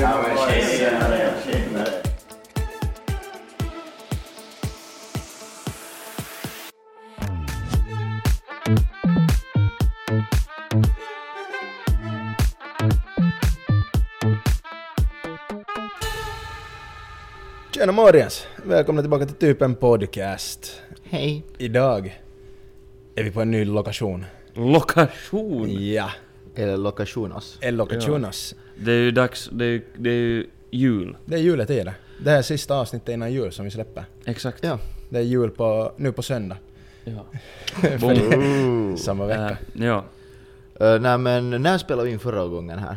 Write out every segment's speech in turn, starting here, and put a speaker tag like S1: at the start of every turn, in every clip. S1: Ja, men tjenare, tjenare.
S2: Tjena morgens! Välkomna tillbaka till Typen Podcast.
S3: Hej.
S2: Idag är vi på en ny lokation.
S4: Lokation!
S2: Ja,
S3: Eller locationos.
S2: El Locationos.
S4: Det är ju dags, det är, ju- det är ju jul.
S2: Det är juletider. Det här är sista avsnittet innan jul som vi släpper.
S4: Exakt.
S3: Ja.
S2: Det är jul på, nu på söndag.
S4: Ja.
S2: För det är Samma vecka.
S4: Äh, ja.
S3: Uh, nej men när spelade vi in förra gången här?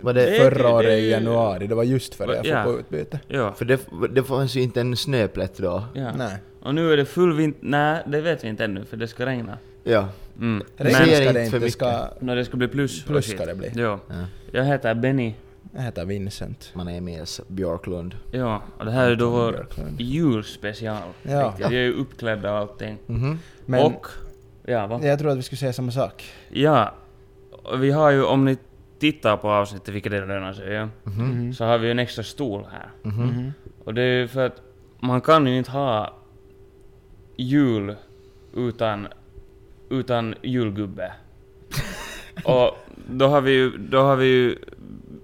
S3: Var det,
S4: Det-
S2: Förra året i
S4: det-
S2: januari, det var just före jag
S4: Ja.
S2: får på utbyte.
S4: ja.
S3: För det, det fanns ju inte en snöplätt då.
S4: ja.
S2: Nej.
S4: Och nu är det full vinter. Nej, det vet vi inte ännu för det ska regna.
S3: Ja.
S4: Mm.
S3: Men-
S2: Regn
S3: Ser
S2: ska det
S3: inte för
S2: inte,
S3: mycket.
S2: ska...
S4: När det ska bli plus. och
S2: Plus
S4: shit.
S2: ska det bli.
S4: Ja.
S3: ja.
S4: Jag heter Benny.
S2: Jag heter Vincent.
S3: Man är med oss, Björklund.
S4: Ja. Och det här är då vår
S2: Björklund.
S4: julspecial.
S2: Ja.
S4: Riktigt. Vi är ju uppklädda och allting.
S3: Mhm.
S2: Men
S4: Och... Ja, va?
S2: jag tror att vi skulle säga samma sak.
S4: Ja. Och Vi har ju, om ni tittar på avsnittet, vilket det lönar sig ja, så har vi ju en extra stol här.
S2: Mhm.
S4: Och det är ju för att man kan ju inte ha jul utan, utan julgubbe. Och då har, vi ju, då har vi ju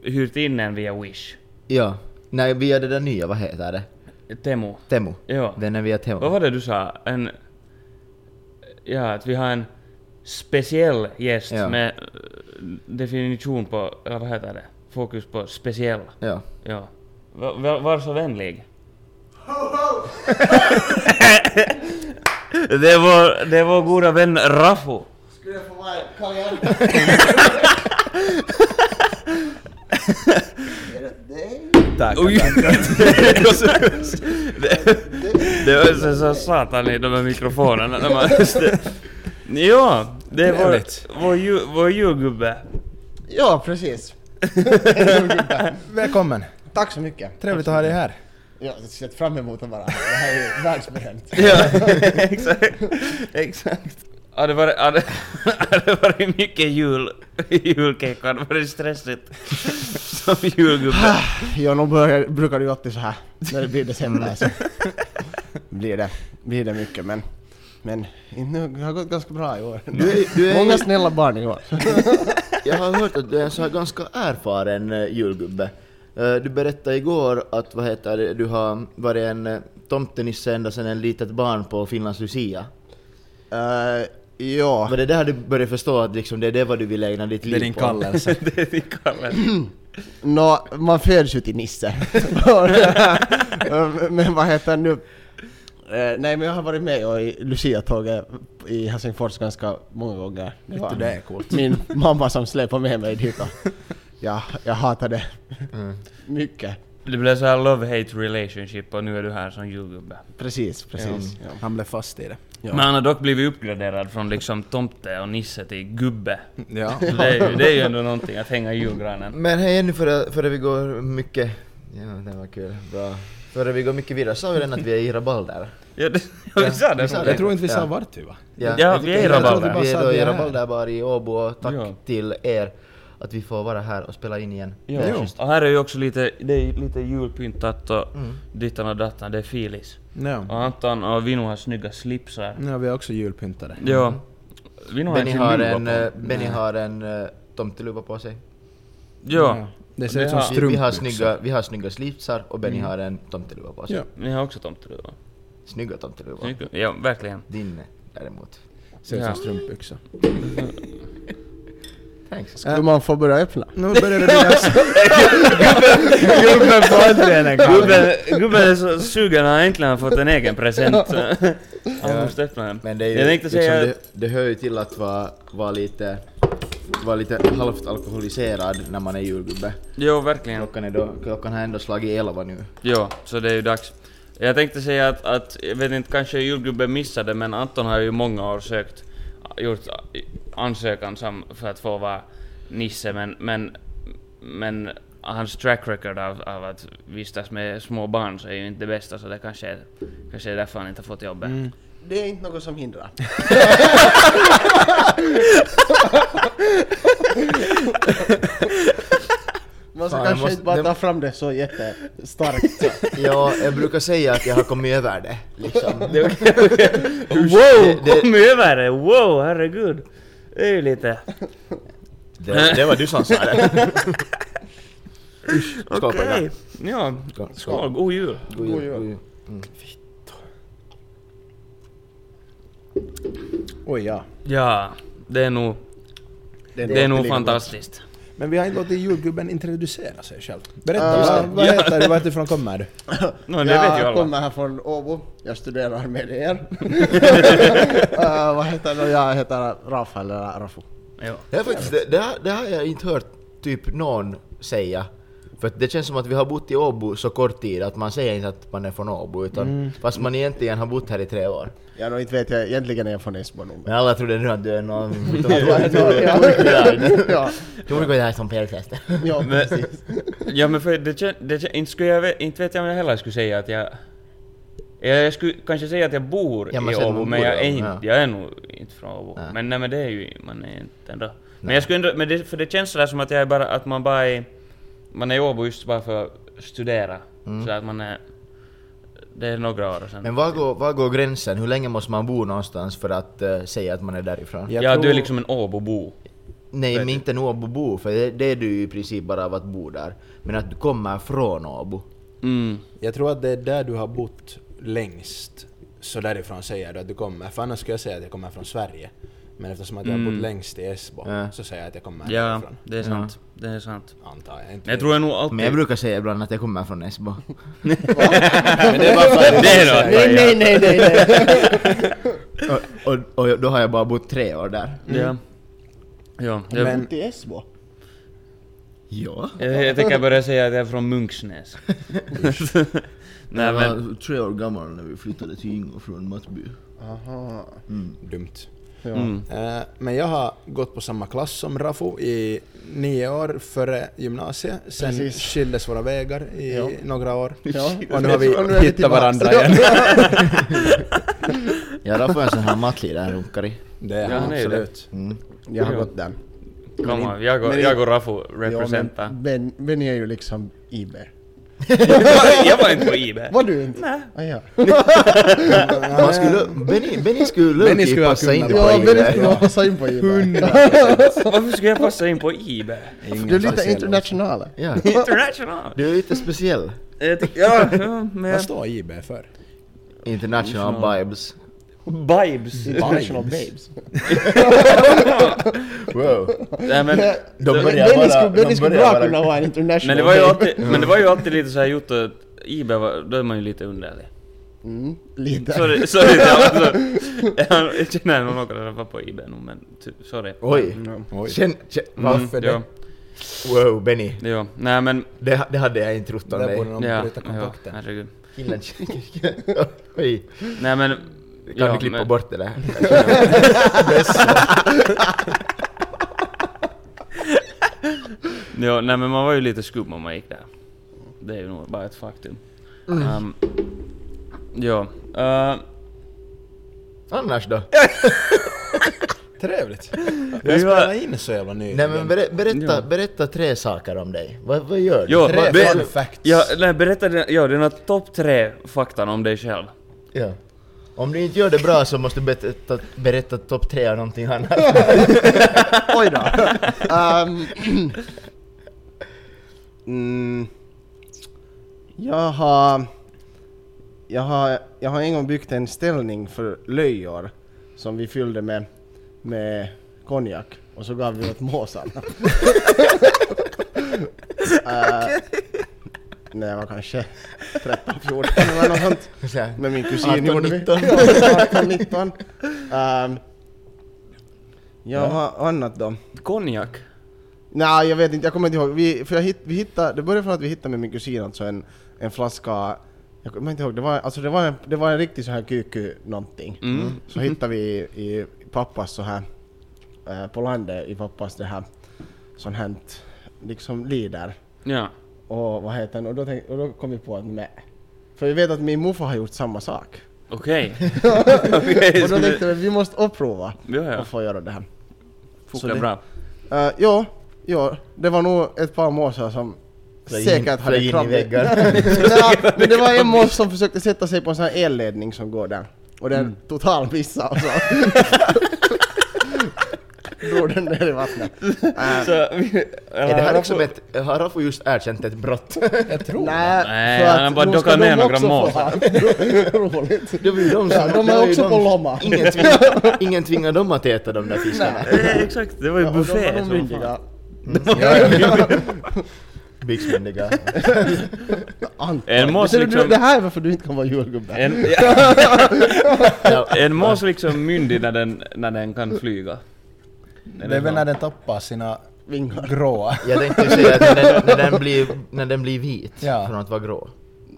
S4: hyrt in en via Wish.
S3: Ja. Nej, vi gör det där nya, vad heter det?
S4: Temo.
S3: Temo.
S4: Ja.
S3: Den är via Temo.
S4: Vad var det du sa? En... Ja, att vi har en speciell gäst
S3: Ja.
S4: med eh, definition på, eller vad heter det? Fokus på speciell.
S3: Ja.
S4: Ja. Var, var, var så vänlig. det, är vår, det är vår goda vän Raffo.
S2: Tack,
S4: Oj.
S2: tack.
S4: Det är så, så satan i de här mikrofonerna när man... ja, det är vår,
S2: Trevligt.
S4: vår, ju, vår julgubbe.
S5: Ja, precis.
S2: Välkommen!
S5: Tack så mycket.
S2: Trevligt att ha dig här.
S5: Jag har sett fram emot den bara. Det här är ju världsberömt.
S4: Ja, exakt. exakt. Hade det varit, hade, hade varit mycket jul, julkek hade det varit stressigt som julgubbe.
S5: Ja, nog börjar- brukar det ju alltid så här när det blir december så blir det, blir det mycket men men inte nu, det har gått ganska bra i år.
S3: Du, du är,
S5: Många snälla barn i år.
S3: jag har hört att du är en så här ganska erfaren eh, julgubbe. Eh, Du berättade igår att vad heter det, du har varit en eh, tomtenisse ända sedan en litet barn på Finlands Lucia.
S5: Eh, ja,
S3: Var det där du började förstå att liksom det är det vad du vill ägna ditt liv
S2: Det är din
S3: på?
S2: kallelse.
S4: Det är din Kalle.
S5: nå, man föds ju till nisse. men vad heter nu? Eh, nej men jag har varit med och i Lucia-tåget i Helsingfors ganska många gånger. Det var-
S2: Det är coolt.
S5: min mamma som släpade med mig dit och jag, jag hatar det
S3: Mm.
S5: mycket.
S4: Det blev så här love-hate relationship och nu är du här som julgubbe.
S5: Precis, precis. Ja.
S2: Han blev fast i det.
S5: Ja.
S4: Men han har dock blivit uppgraderad från liksom tomte och nisse till gubbe.
S2: Ja.
S4: Så det, är ju, det är ju ändå någonting att hänga i julgranen.
S3: Men hej Jenny, före, före vi går mycket... Ja, det var kul. Bra. Före vi går mycket vidare, sa vi redan att vi är i Rabalder?
S4: Ja, det, ja, vi sa det.
S3: vi sa
S2: Jag tror inte vi sa
S3: Ja.
S2: vart du va?
S4: Ja,
S3: jag
S4: vi
S3: tycker-
S4: är i
S3: jag tror att
S4: Rabalder.
S3: Vi
S2: Vi
S3: är
S2: bara sa
S3: då
S2: att vi
S3: i
S2: är här.
S3: Rabalder bara i Åbo och tack
S4: Ja.
S3: till er att vi får vara här och spela in igen.
S4: Ja,
S2: Jo.
S4: just. och här är ju också lite, det är ju lite julpyntat och
S3: Mm.
S4: dittan och dattan. Det är filis.
S2: Ja.
S4: Och Anton och Vino har snygga slipsar.
S2: Nu har vi också Mm. julpyntade.
S4: Ja. Vino
S3: Mm.
S4: har
S3: Benny
S4: sin
S3: har
S4: luva
S3: en,
S4: på.
S3: eh, Benny har en eh, tomteluva på sig.
S4: Ja.
S2: Det ser
S4: Vi
S2: ut som
S4: har-
S3: Vi, vi, har
S2: strumpbyxor.
S3: snygga, vi har snygga slipsar och Benny har en tomteluva på sig.
S2: Ja.
S4: Ni har också tomteluva?
S3: Snygga tomteluvor.
S4: Snyggt. Ja, verkligen.
S3: Din eh, däremot.
S2: Ser ut
S4: Ja.
S2: som strumpbyxor.
S3: Thanks.
S5: Skulle man få börja öppna?
S2: Nu börjar det bli dags.
S4: Gubben på Gubben, gubben är så sugen, han har äntligen fått en egen present. Han måste öppna den.
S3: Men det är ju,
S4: jag tänkte
S3: liksom,
S4: säga...
S3: det, det hör ju till att vara vara lite, vara lite halvt alkoholiserad när man är julgubbe.
S4: Jo, verkligen.
S3: Klockan, är då, klockan har ändå slagit elva nu.
S4: Jo, så det är ju dags. Jag tänkte säga att, att jag vet inte, kanske julgubben missade, men Anton har ju i många år sökt, gjort ansökan som, för att få vara Nisse, men, men, men hans track record av, av att vistas med små barn så är ju inte det bästa, så det kanske är, kanske är därför han inte har fått jobbet.
S5: Det är inte något som hindrar. Man ska
S3: Fan, jag
S5: kanske
S3: måste-
S5: inte bara
S3: det-
S5: ta fram det så jättestarkt.
S3: Ja, jag brukar säga att jag har kommit över det. Liksom.
S4: Det är okej, okej. Wow!
S3: det-
S4: Kom över det! Wow, herregud! Det är ju lite...
S3: Det, det var du som sa det. Skål på det.
S4: Okej. Ja,
S3: Skål.
S4: skål, god jul!
S3: God jul. God jul.
S2: Oj ja.
S4: Ja, det är nog, det är nog fantastiskt.
S2: Men vi har inte låtit julgubben introducera sig själv. Berätta,
S5: Ah, just
S2: vad,
S5: det.
S2: vad heter du? Varifrån kommer du?
S4: Nå, det vet ju
S5: jag
S4: alla.
S5: kommer här från Åbo, jag studerar med er. Eh, vad heter jag? Jag heter Rafa eller Rafu.
S4: Ja.
S3: Det, är faktiskt, det, det, har, det har jag inte hört typ någon säga. För att det känns som att vi har bott i Åbo så kort tid att man säger inte att man är från Åbo utan fast man egentligen har bott här i tre år.
S5: Jag nog inte vet jag, egentligen är jag från Esbo nog.
S3: Men alla trodde nu att du är någon...
S5: ja,
S3: Du borde gå där som pelfest.
S5: ja,
S4: Men-
S5: precis.
S4: Ja men för det, kän, det kän, inte, skulle jag, vä- inte vet jag om jag heller skulle säga att jag... Ja, Jag skulle kanske säga att jag bor
S3: Ja, men
S4: i
S3: sen
S4: Åbo,
S3: man
S4: men
S3: bor
S4: jag är,
S3: där,
S4: inte, jag är nog inte från Åbo.
S3: Nej.
S4: Men nej men det är ju man är inte ändå. Men jag skulle ändå, men det, för det känns sådär som att jag är bara, att man bara är... Man är i Åbo just bara för att studera. Så att man är... Det är några år och sen...
S3: Men var går, var går gränsen? Hur länge måste man bo någonstans för att eh, säga att man är därifrån?
S2: Jag
S4: ja, du är
S2: tror-
S4: liksom en Åbobo.
S3: Nej, men inte en Åbobo, för det, det är du ju i princip bara av att bo där. Men att du kommer från Åbo.
S4: Mm.
S2: Jag tror att det är där du har bott längst. Så därifrån säger du att du kommer. För annars skulle jag säga att jag kommer från Sverige. Men eftersom att jag har bott längst i Esbo
S3: Ja.
S2: så säger jag att jag kommer
S4: Mm. Ja,
S2: därifrån.
S4: det är sant. Det är sant.
S2: Antar jag. Inte
S4: Men jag tror jag nog alltid...
S3: Men jag brukar säga ibland att jag kommer från Esbo.
S2: Men det är bara för att-
S4: Det är något,
S5: Nej,
S4: ja.
S5: nej, nej, nej, nej.
S3: och, och, och då har jag bara bott tre år där.
S4: Ja. Ja, jag,
S5: Men inte i Esbo.
S3: Ja.
S4: Jag, jag tänker börja säga att jag är från Munksnäs. Nej men,
S3: tre år gammal när vi flyttade till Ingo från Mattby.
S5: Aha.
S2: Dumt.
S5: Ja.
S4: mm.
S2: Eh, Men jag har gått på samma klass som Rafu i nio år före gymnasiet. Sen
S5: Precis.
S2: skildes våra vägar i
S5: Ja.
S2: några år.
S5: Ja.
S2: Och nu har
S5: Och nu är
S2: vi
S5: vi
S2: hittat
S5: tillbaks.
S2: varandra igen.
S3: Ja, då får jag en sån här Matli där runkar i.
S2: Det är
S4: Ja,
S2: han
S4: nej, det-
S2: absolut.
S3: Mm.
S5: Jag har gått den.
S4: kom on, jag går,
S5: men-
S4: jag går Rafu
S5: Ja,
S4: representa.
S5: men ben, Benny är ju liksom IB.
S4: jag var inte på IB.
S5: Var du inte? Nej. Ah, ja.
S3: Man skulle, Benny, Benny skulle
S2: Benny
S3: Benny
S2: skulle ha
S3: passa in
S2: kunnat
S3: på
S5: ja, Benny
S3: det.
S5: skulle passa in på IB.
S4: Varför skulle jag passa in på IB?
S5: Du är lite international.
S3: Ja.
S4: International!
S3: Du är lite speciell.
S4: Jag tyck- Ja, ja, men...
S2: Vad
S4: jag-
S2: står JB för?
S3: International vibes.
S4: Vibes!
S5: International babes.
S3: Wow.
S4: Nej men...
S3: De
S5: Men
S3: börjar
S5: Benny
S3: bara-
S5: skulle, Benny
S3: de
S5: skulle
S3: börjar
S5: bra
S3: bara-
S5: kunna vara en
S4: Men
S5: international
S4: det var ju
S5: babe.
S4: alltid, men det var ju alltid lite såhär gjort att IB var, då är man ju lite underlig.
S5: Mm, lite.
S4: Sorry, sorry till alla. Jag- Jag känner nog några som var på IB nu men ty, sorry. Mm,
S3: Oj. Mm.
S5: Ja.
S2: Oj.
S3: Känn, känn, varför det?
S4: Ja,
S3: Wow, Benny.
S4: ja. Nej men...
S3: Det, ha- det hade jag inte trott om
S2: Där borde
S3: dig.
S2: någon
S4: Ja,
S2: bryta
S4: ja,
S2: kontakten.
S4: herregud.
S3: Killen... Oj.
S4: Nej men...
S3: Kan
S4: ja,
S3: du klippa
S4: men-
S3: bort det där?
S4: Ja, nej men man var ju lite skum om man gick där. Det är ju nog bara ett faktum. Ehm, ja. eh,
S3: Annars då?
S2: Trevligt.
S4: var-
S2: Jag spelade in så jävla
S3: Nej
S2: nyligen.
S3: men ber,
S4: Ja.
S3: berätta, berätta tre saker om dig. Vad, vad gör du?
S4: ja,
S2: Tre
S4: be-
S2: fun facts.
S4: Ja, nej, berätta dina, ja, dina topp tre faktan om dig själv.
S3: Ja. Om du inte gör det bra så måste du berätta, berätta topp tre av någonting annat.
S5: Oj då. Um, Ehm, mm, jag har... Jag har, jag har en gång byggt en ställning för löjor som vi fyllde med, med konjak och så gav vi åt måsarna. Eh, när jag var kanske 13-14 eller något sånt.
S3: Så här,
S5: Med min kusin gjorde vi.
S3: 18-19.
S5: 18-19. Ehm, jag har annat då.
S4: Konjak?
S5: Nej, jag vet inte, jag kommer inte ihåg. Vi, för jag hit, vi hittade, det började från att vi hittade med min kusin alltså en, en flaska, jag kommer inte ihåg, det var, alltså det var, en, det var en riktig så här kuku någonting.
S4: Mm.
S5: Så hittade vi i, i pappas så här, eh, på landet i pappas det här, sånt här, liksom lider.
S4: Ja.
S5: Och vad heter den? Och då, tänk, och då kom vi på att nej. För vi vet att min morfar har gjort samma sak.
S4: Okej. Okej,
S5: Och
S4: så
S5: då
S4: det-
S5: tänkte vi att vi måste upprova
S4: Ja, ja.
S5: och få göra det här.
S4: Funkar bra.
S5: Uh, ja, Ja, det var nog ett par måsar som
S3: Flög in-
S5: säkert
S3: flög in
S5: hade
S3: i
S5: krabbit.
S3: väggar.
S5: Nej, men det var en mås som försökte sätta sig på en sån här elledning som går där. Och den
S3: Mm.
S5: total alltså. missade och så. Drog den ner i vattnet.
S4: Så,
S3: Är det här liksom ett... Har Raffo just erkänt ett brott?
S2: Jag tror
S5: Nej,
S4: Nej,
S5: för
S4: han
S5: att
S4: bara
S5: nog
S4: dockar
S5: ska
S4: ner
S5: de
S4: några
S5: också få
S4: måsar.
S5: ha det. Roligt.
S3: Det var ju de som...
S5: Ja, de
S3: det
S5: är
S3: var ju
S5: också
S3: de-
S5: på Lomma.
S3: Ingen tvingar, ingen tvingar dem att äta de där fiskarna.
S4: Exakt, det var ju
S5: Ja, och de var
S4: buffé
S5: nog
S4: som fan.
S5: myndiga.
S3: Byxmyndiga.
S5: Anton.
S4: En mås
S5: Det- det-
S4: liksom-
S5: Det här är varför du inte kan vara julgubbe.
S4: En, en mås liksom myndig när den, när den kan flyga.
S2: det. Det är väl när den tappar sina
S5: Vingar.
S2: gråa.
S3: Jag tänkte ju säga att när den, när den, blir, när den blir vit
S2: Ja.
S3: från att vara grå.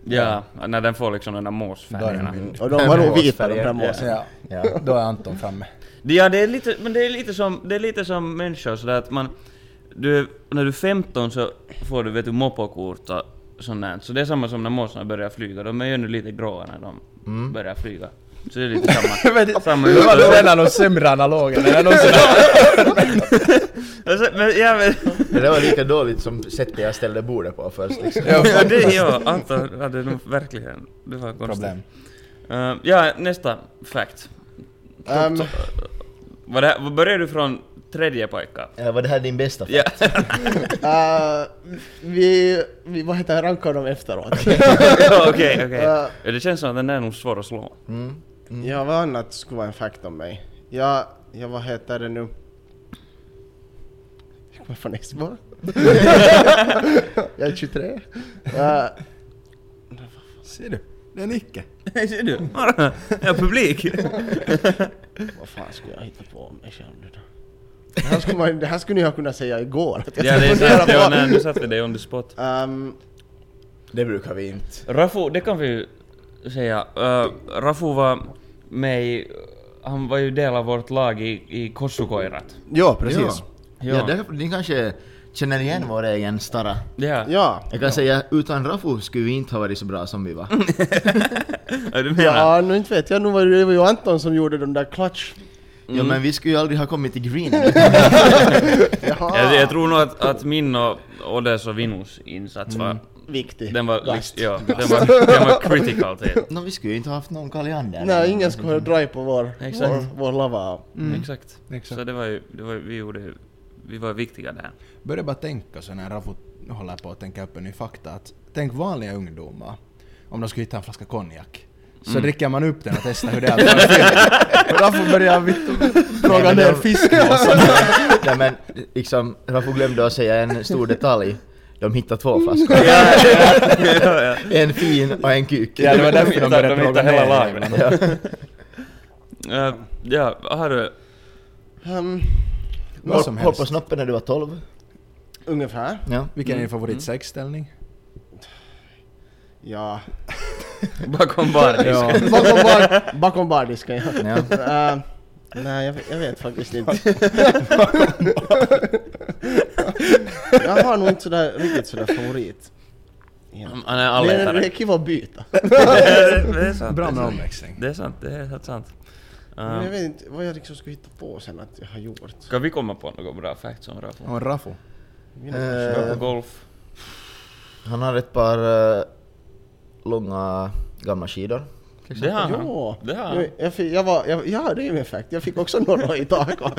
S4: Ja, när den får liksom de där
S2: Då är den
S4: måsfärgerna.
S2: myndig.
S5: Och de var nog vita de där
S3: Ja.
S5: måsarna.
S2: Ja,
S3: Ja.
S2: då är Anton framme.
S4: Det- Ja, det är lite, men det är lite som, det är lite som människor sådär att man... Du, är- när du är 15 så får du vet du moppokort och sånt där. Så det är samma som när måsarna börjar flyga, de är ju ännu lite gråa när de
S2: Mm.
S4: börjar flyga. Så det är lite samma... samma
S2: Det var nog en av de sämre analogerna jag någonsin har
S4: Och så- men, ja, men,
S3: Det där var lika dåligt som sättet jag ställde bordet på först liksom.
S4: ja, det, ja, Anton hade nog verkligen... Det var konstigt.
S2: problem.
S4: Eh, ja, nästa fact.
S5: Ehm,
S4: Var det, var- börjar du från tredje pojka?
S3: Eller var det här din bästa?
S4: Ja.
S5: eh, vi, vi, vad heter det, rankar dem efteråt.
S4: Ja, Okej, okej.
S5: Ja.
S4: Ja, Det känns som att den är nog svår att slå.
S3: Mm.
S5: Ja, vad annat skulle vara en fakt om mig? Jag, jag vad heter det nu? Jag kommer från Esbo. jag är Uh, 23. Ja,
S2: Ser du? Det är Nicke.
S4: Ser du? Ja, publik.
S5: vad fan skulle jag hitta på om mig själv nu då? Det här skulle, man, det här skulle ni ha kunnat säga igår. att jag
S4: Ja, det är
S5: funderar
S4: sant.
S5: på.
S4: Ja, nej, nu satte vi dig on the spot.
S5: Ehm,
S3: Det brukar vi inte.
S4: Rafu, det kan vi ju säga. Uh, Rafu var med i, Han var ju del av vårt lag i, i Kossukoirat.
S5: ja, precis.
S3: Ja, ja det, ni kanske känner igen vår egen Stara.
S4: Ja. ja.
S5: Ja.
S3: Jag kan säga utan Raffo skulle vi inte ha varit så bra som vi
S2: Mm.
S3: var.
S4: du
S5: Ja,
S4: menar?
S5: nu inte vet jag. Nu var det det var ju Anton som gjorde de där clutch...
S3: Ja men vi skulle ju aldrig ha kommit till green.
S4: Jag, jag tror nog att, att min och Oddes och Vinus insats var...
S5: Viktig.
S4: Den var, liksom, ja, den var, den var critical till.
S3: Nå vi skulle ju inte ha haft någon Kaliander.
S5: Nej, ingen skulle ha dragit på vår,
S4: Exakt.
S5: vår, vår lava.
S4: Mm. Exakt.
S2: Mm. Exakt.
S4: Så det var ju, det var, vi gjorde ju- vi var viktiga där.
S2: Börja bara tänka så när Raffo håller på att tänka upp en ny fakta att tänk vanliga ungdomar, om de skulle hitta en flaska konjak. Så dricker man upp den och testar hur det är att vara full. Raffo börjar vittu fråga
S3: men
S2: ner
S3: de-
S2: fiskmåsar.
S3: Nej men liksom, Raffo glömde att säga en stor detalj. De hittade två flaskor. En fin och en kuk.
S2: Ja, det var därför de
S4: hittar-
S2: började
S4: de
S2: fråga
S4: hittar hela
S2: ner
S4: lagen.
S2: den.
S4: Eh, ja, har du...
S5: Ehm,
S2: Vad som
S3: Håll på
S2: helst.
S3: snoppen när du var 12.
S5: ungefär.
S3: Ja.
S2: Vilken är din favoritsexställning?
S5: Ja.
S4: Bakom bardisken?
S2: Ja.
S5: Bakom, bar, bakom bardisken ja.
S3: Ja.
S5: Eh, nej, jag, jag vet faktiskt inte. jag har nog inte sådär, riktigt sådär favorit. Ja.
S4: Han är
S5: Det är, det är
S4: allätare.
S5: kul att byta.
S4: det är sant.
S2: Bra
S4: det
S2: med
S4: är sant.
S2: omväxling.
S4: Det är sant, det är helt sant.
S5: Men jag
S4: Uh,
S5: vet inte vad jag liksom ska hitta på sen att jag har gjort.
S4: ska vi komma på något bra facts om Raffo?
S2: Om Raffo?
S4: Gå
S3: Eh,
S4: på golf?
S3: han har ett par eh, långa gamla skidor.
S4: Det har han.
S5: Ja,
S4: Det har han.
S5: jag, jag, fick, jag var, jag, ja det är min fact. Jag fick också några i taco.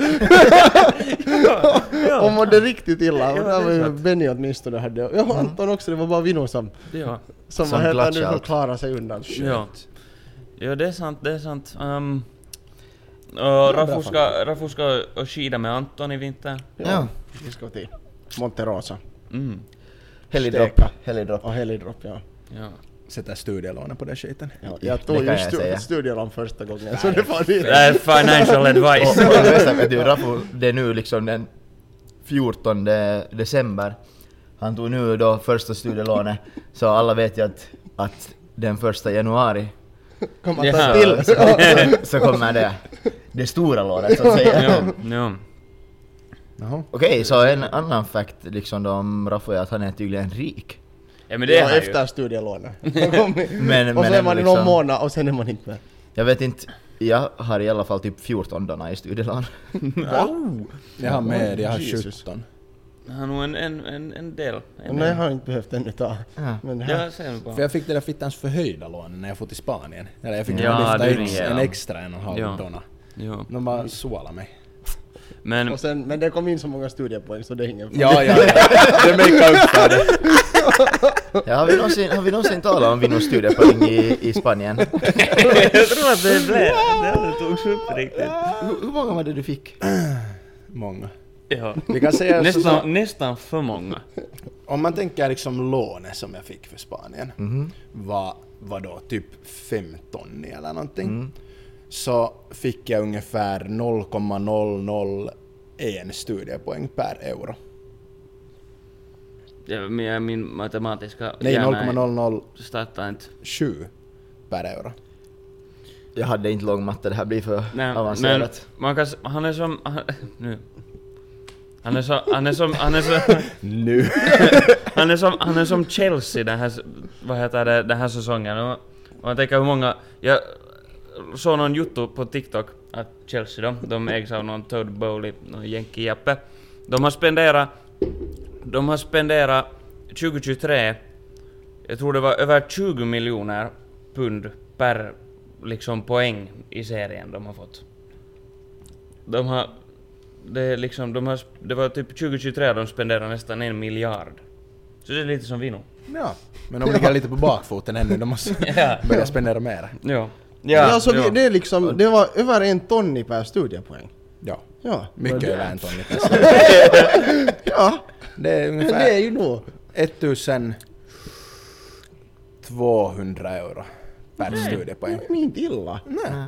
S5: och mådde riktigt illa.
S4: Ja,
S5: Och
S4: det är
S5: där var ju
S4: sant. Mm.
S5: Benny åtminstone hade. Jag och Anton också, det var bara Vino som,
S4: Ja.
S5: som,
S3: Som
S5: var helt
S3: klatschade
S5: annorlunda och
S3: allt.
S5: klarade sig undan.
S4: Ja. ja, det är sant, det är sant. Um, och Raffo ska, Raffo ska och skida med Anton i vinter.
S3: Ja.
S5: Vi ska till Monterosa
S4: Mm.
S3: Helidropp.
S5: Steka.
S3: Helidropp.
S5: och helgdropp ja.
S4: Ja.
S2: Sätter studielånen på den skiten.
S5: ja. Jag tog
S3: Det kan
S5: ju
S3: jag
S5: stu-
S3: säga.
S5: studielån första gången så det var det.
S4: Det är financial
S3: Och, och
S4: advice.
S3: det bästa vet du, Raffo, det är nu liksom den 14 december. Han tog nu då första studielånet, så alla vet ju att, att den första januari
S5: Kan man
S4: Ja.
S5: ta till?
S3: så, så, så kommer det, det stora lånet så att säga.
S4: ja, ja.
S2: Jaha.
S3: Okej, så en annan fact liksom då om Raffo är att han är tydligen rik.
S4: ja, men det är
S5: Ja,
S4: han ju.
S5: efter studielånet.
S3: Men-
S5: och
S3: men
S5: så är man i
S3: ändå
S5: någon
S3: liksom-
S5: månad och sen är man inte med.
S3: Jag vet inte, jag har i alla fall typ 14 dagar i studielån.
S2: Jag har med, jag har
S5: Jesus.
S2: 17.
S4: Jag har nog en, en, en, en del. En
S5: Nej,
S4: del.
S5: jag har inte behövt ännu ta.
S3: Ja.
S5: Men här,
S4: Jag ser
S2: För
S4: bara.
S2: jag fick det där fittans förhöjda lån när jag for till Spanien. Eller jag fick
S4: Ja,
S2: ja, lyfta
S4: du
S2: ex,
S4: ringde, ja.
S2: en extra en och en halv
S4: Ja.
S2: donna.
S4: Ja.
S2: De bara såla mig.
S4: Men
S5: och sen, men det kom in så många studiepoäng så det är ingen fara.
S2: Ja, ja, ja. Det make up för det.
S3: Ja, har, vi någonsin, har vi någonsin talat om vinostudiepoäng i, i Spanien?
S4: jag tror att det blev... Det aldrig togs upp riktigt.
S3: Hur, hur många var det du fick?
S2: Många.
S4: Ja.
S2: Vi kan säga så-
S4: Nästan, nästan för många.
S2: Om man tänker liksom lånet som jag fick för Spanien var, var då typ 5 ton eller någonting. Så fick jag ungefär 0,001 studiepoäng per euro.
S4: Ja, men jag- min matematiska
S2: Nej,
S4: hjärna
S2: 0,007
S4: startar inte.
S2: per euro.
S3: Jag hade inte lång matte, det här blir för
S4: Nej, men
S3: avancerat.
S4: man kan, s- han är som... Han, nu. Han är, så, han är som... Han är som...
S2: Nu!
S4: Han är som, han är som Chelsea den här, vad heter det, den här säsongen. Och och man tänker hur många... Jag såg någon youtube på TikTok att Chelsea då, de ägs av någon Todd Bowley, någon jänkejappe. De har spenderat... De har spenderat 2023, jag tror det var över 20 miljoner pund per liksom poäng i serien de har fått. De har... Det är liksom, de har, sp- det var typ 2023 de spenderade nästan en miljard. Så det är lite som Vino.
S2: Ja, men de ligger lite på bakfoten ännu, de måste
S4: Ja.
S2: börja spendera mer.
S4: Ja.
S5: Men alltså, vi- Det, är liksom, det var över en ton i per studiepoäng.
S2: Ja,
S5: Ja.
S2: mycket
S5: Men-
S2: över en ton. lite.
S5: Ja,
S2: Det är
S5: men det är
S2: ungefär
S5: ju nog.
S2: 1200 euro per studiepoäng.
S5: Men inte illa.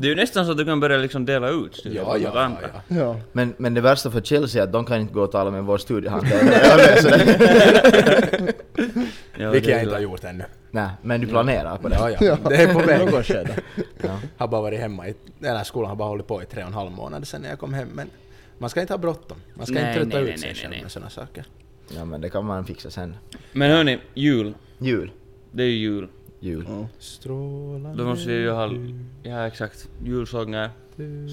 S4: Det är ju nästan så att du kan börja liksom dela ut studier
S2: Ja,
S4: åt
S2: ja, ja,
S4: andra.
S2: ja.
S5: Ja.
S3: Men, men det värsta för Chelsea är att de kan inte gå och tala med vår studiehandledare. Så det-
S4: Ja,
S2: Vilket
S4: det är
S2: jag inte har
S4: illa.
S2: gjort ännu.
S3: Nej, men du planerar på det.
S2: Ja, ja. Det är på
S5: Något
S2: väg.
S5: skede.
S2: Har bara varit hemma i... Eller skolan har bara hållit på i tre och en halv månad sen när jag kom hem. Men man ska inte ha bråttom. Man ska
S4: Nej,
S2: inte trötta
S4: nej,
S2: ut
S4: nej,
S2: sig
S4: nej,
S2: själv
S4: nej.
S2: med sådana saker.
S3: Ja, men det kan man fixa sen.
S4: Men hörni, jul.
S3: Jul.
S4: Det är ju jul.
S3: Jul.
S4: Då
S2: Strålande...
S4: måste vi ju ha... Ja, exakt. Julsånger.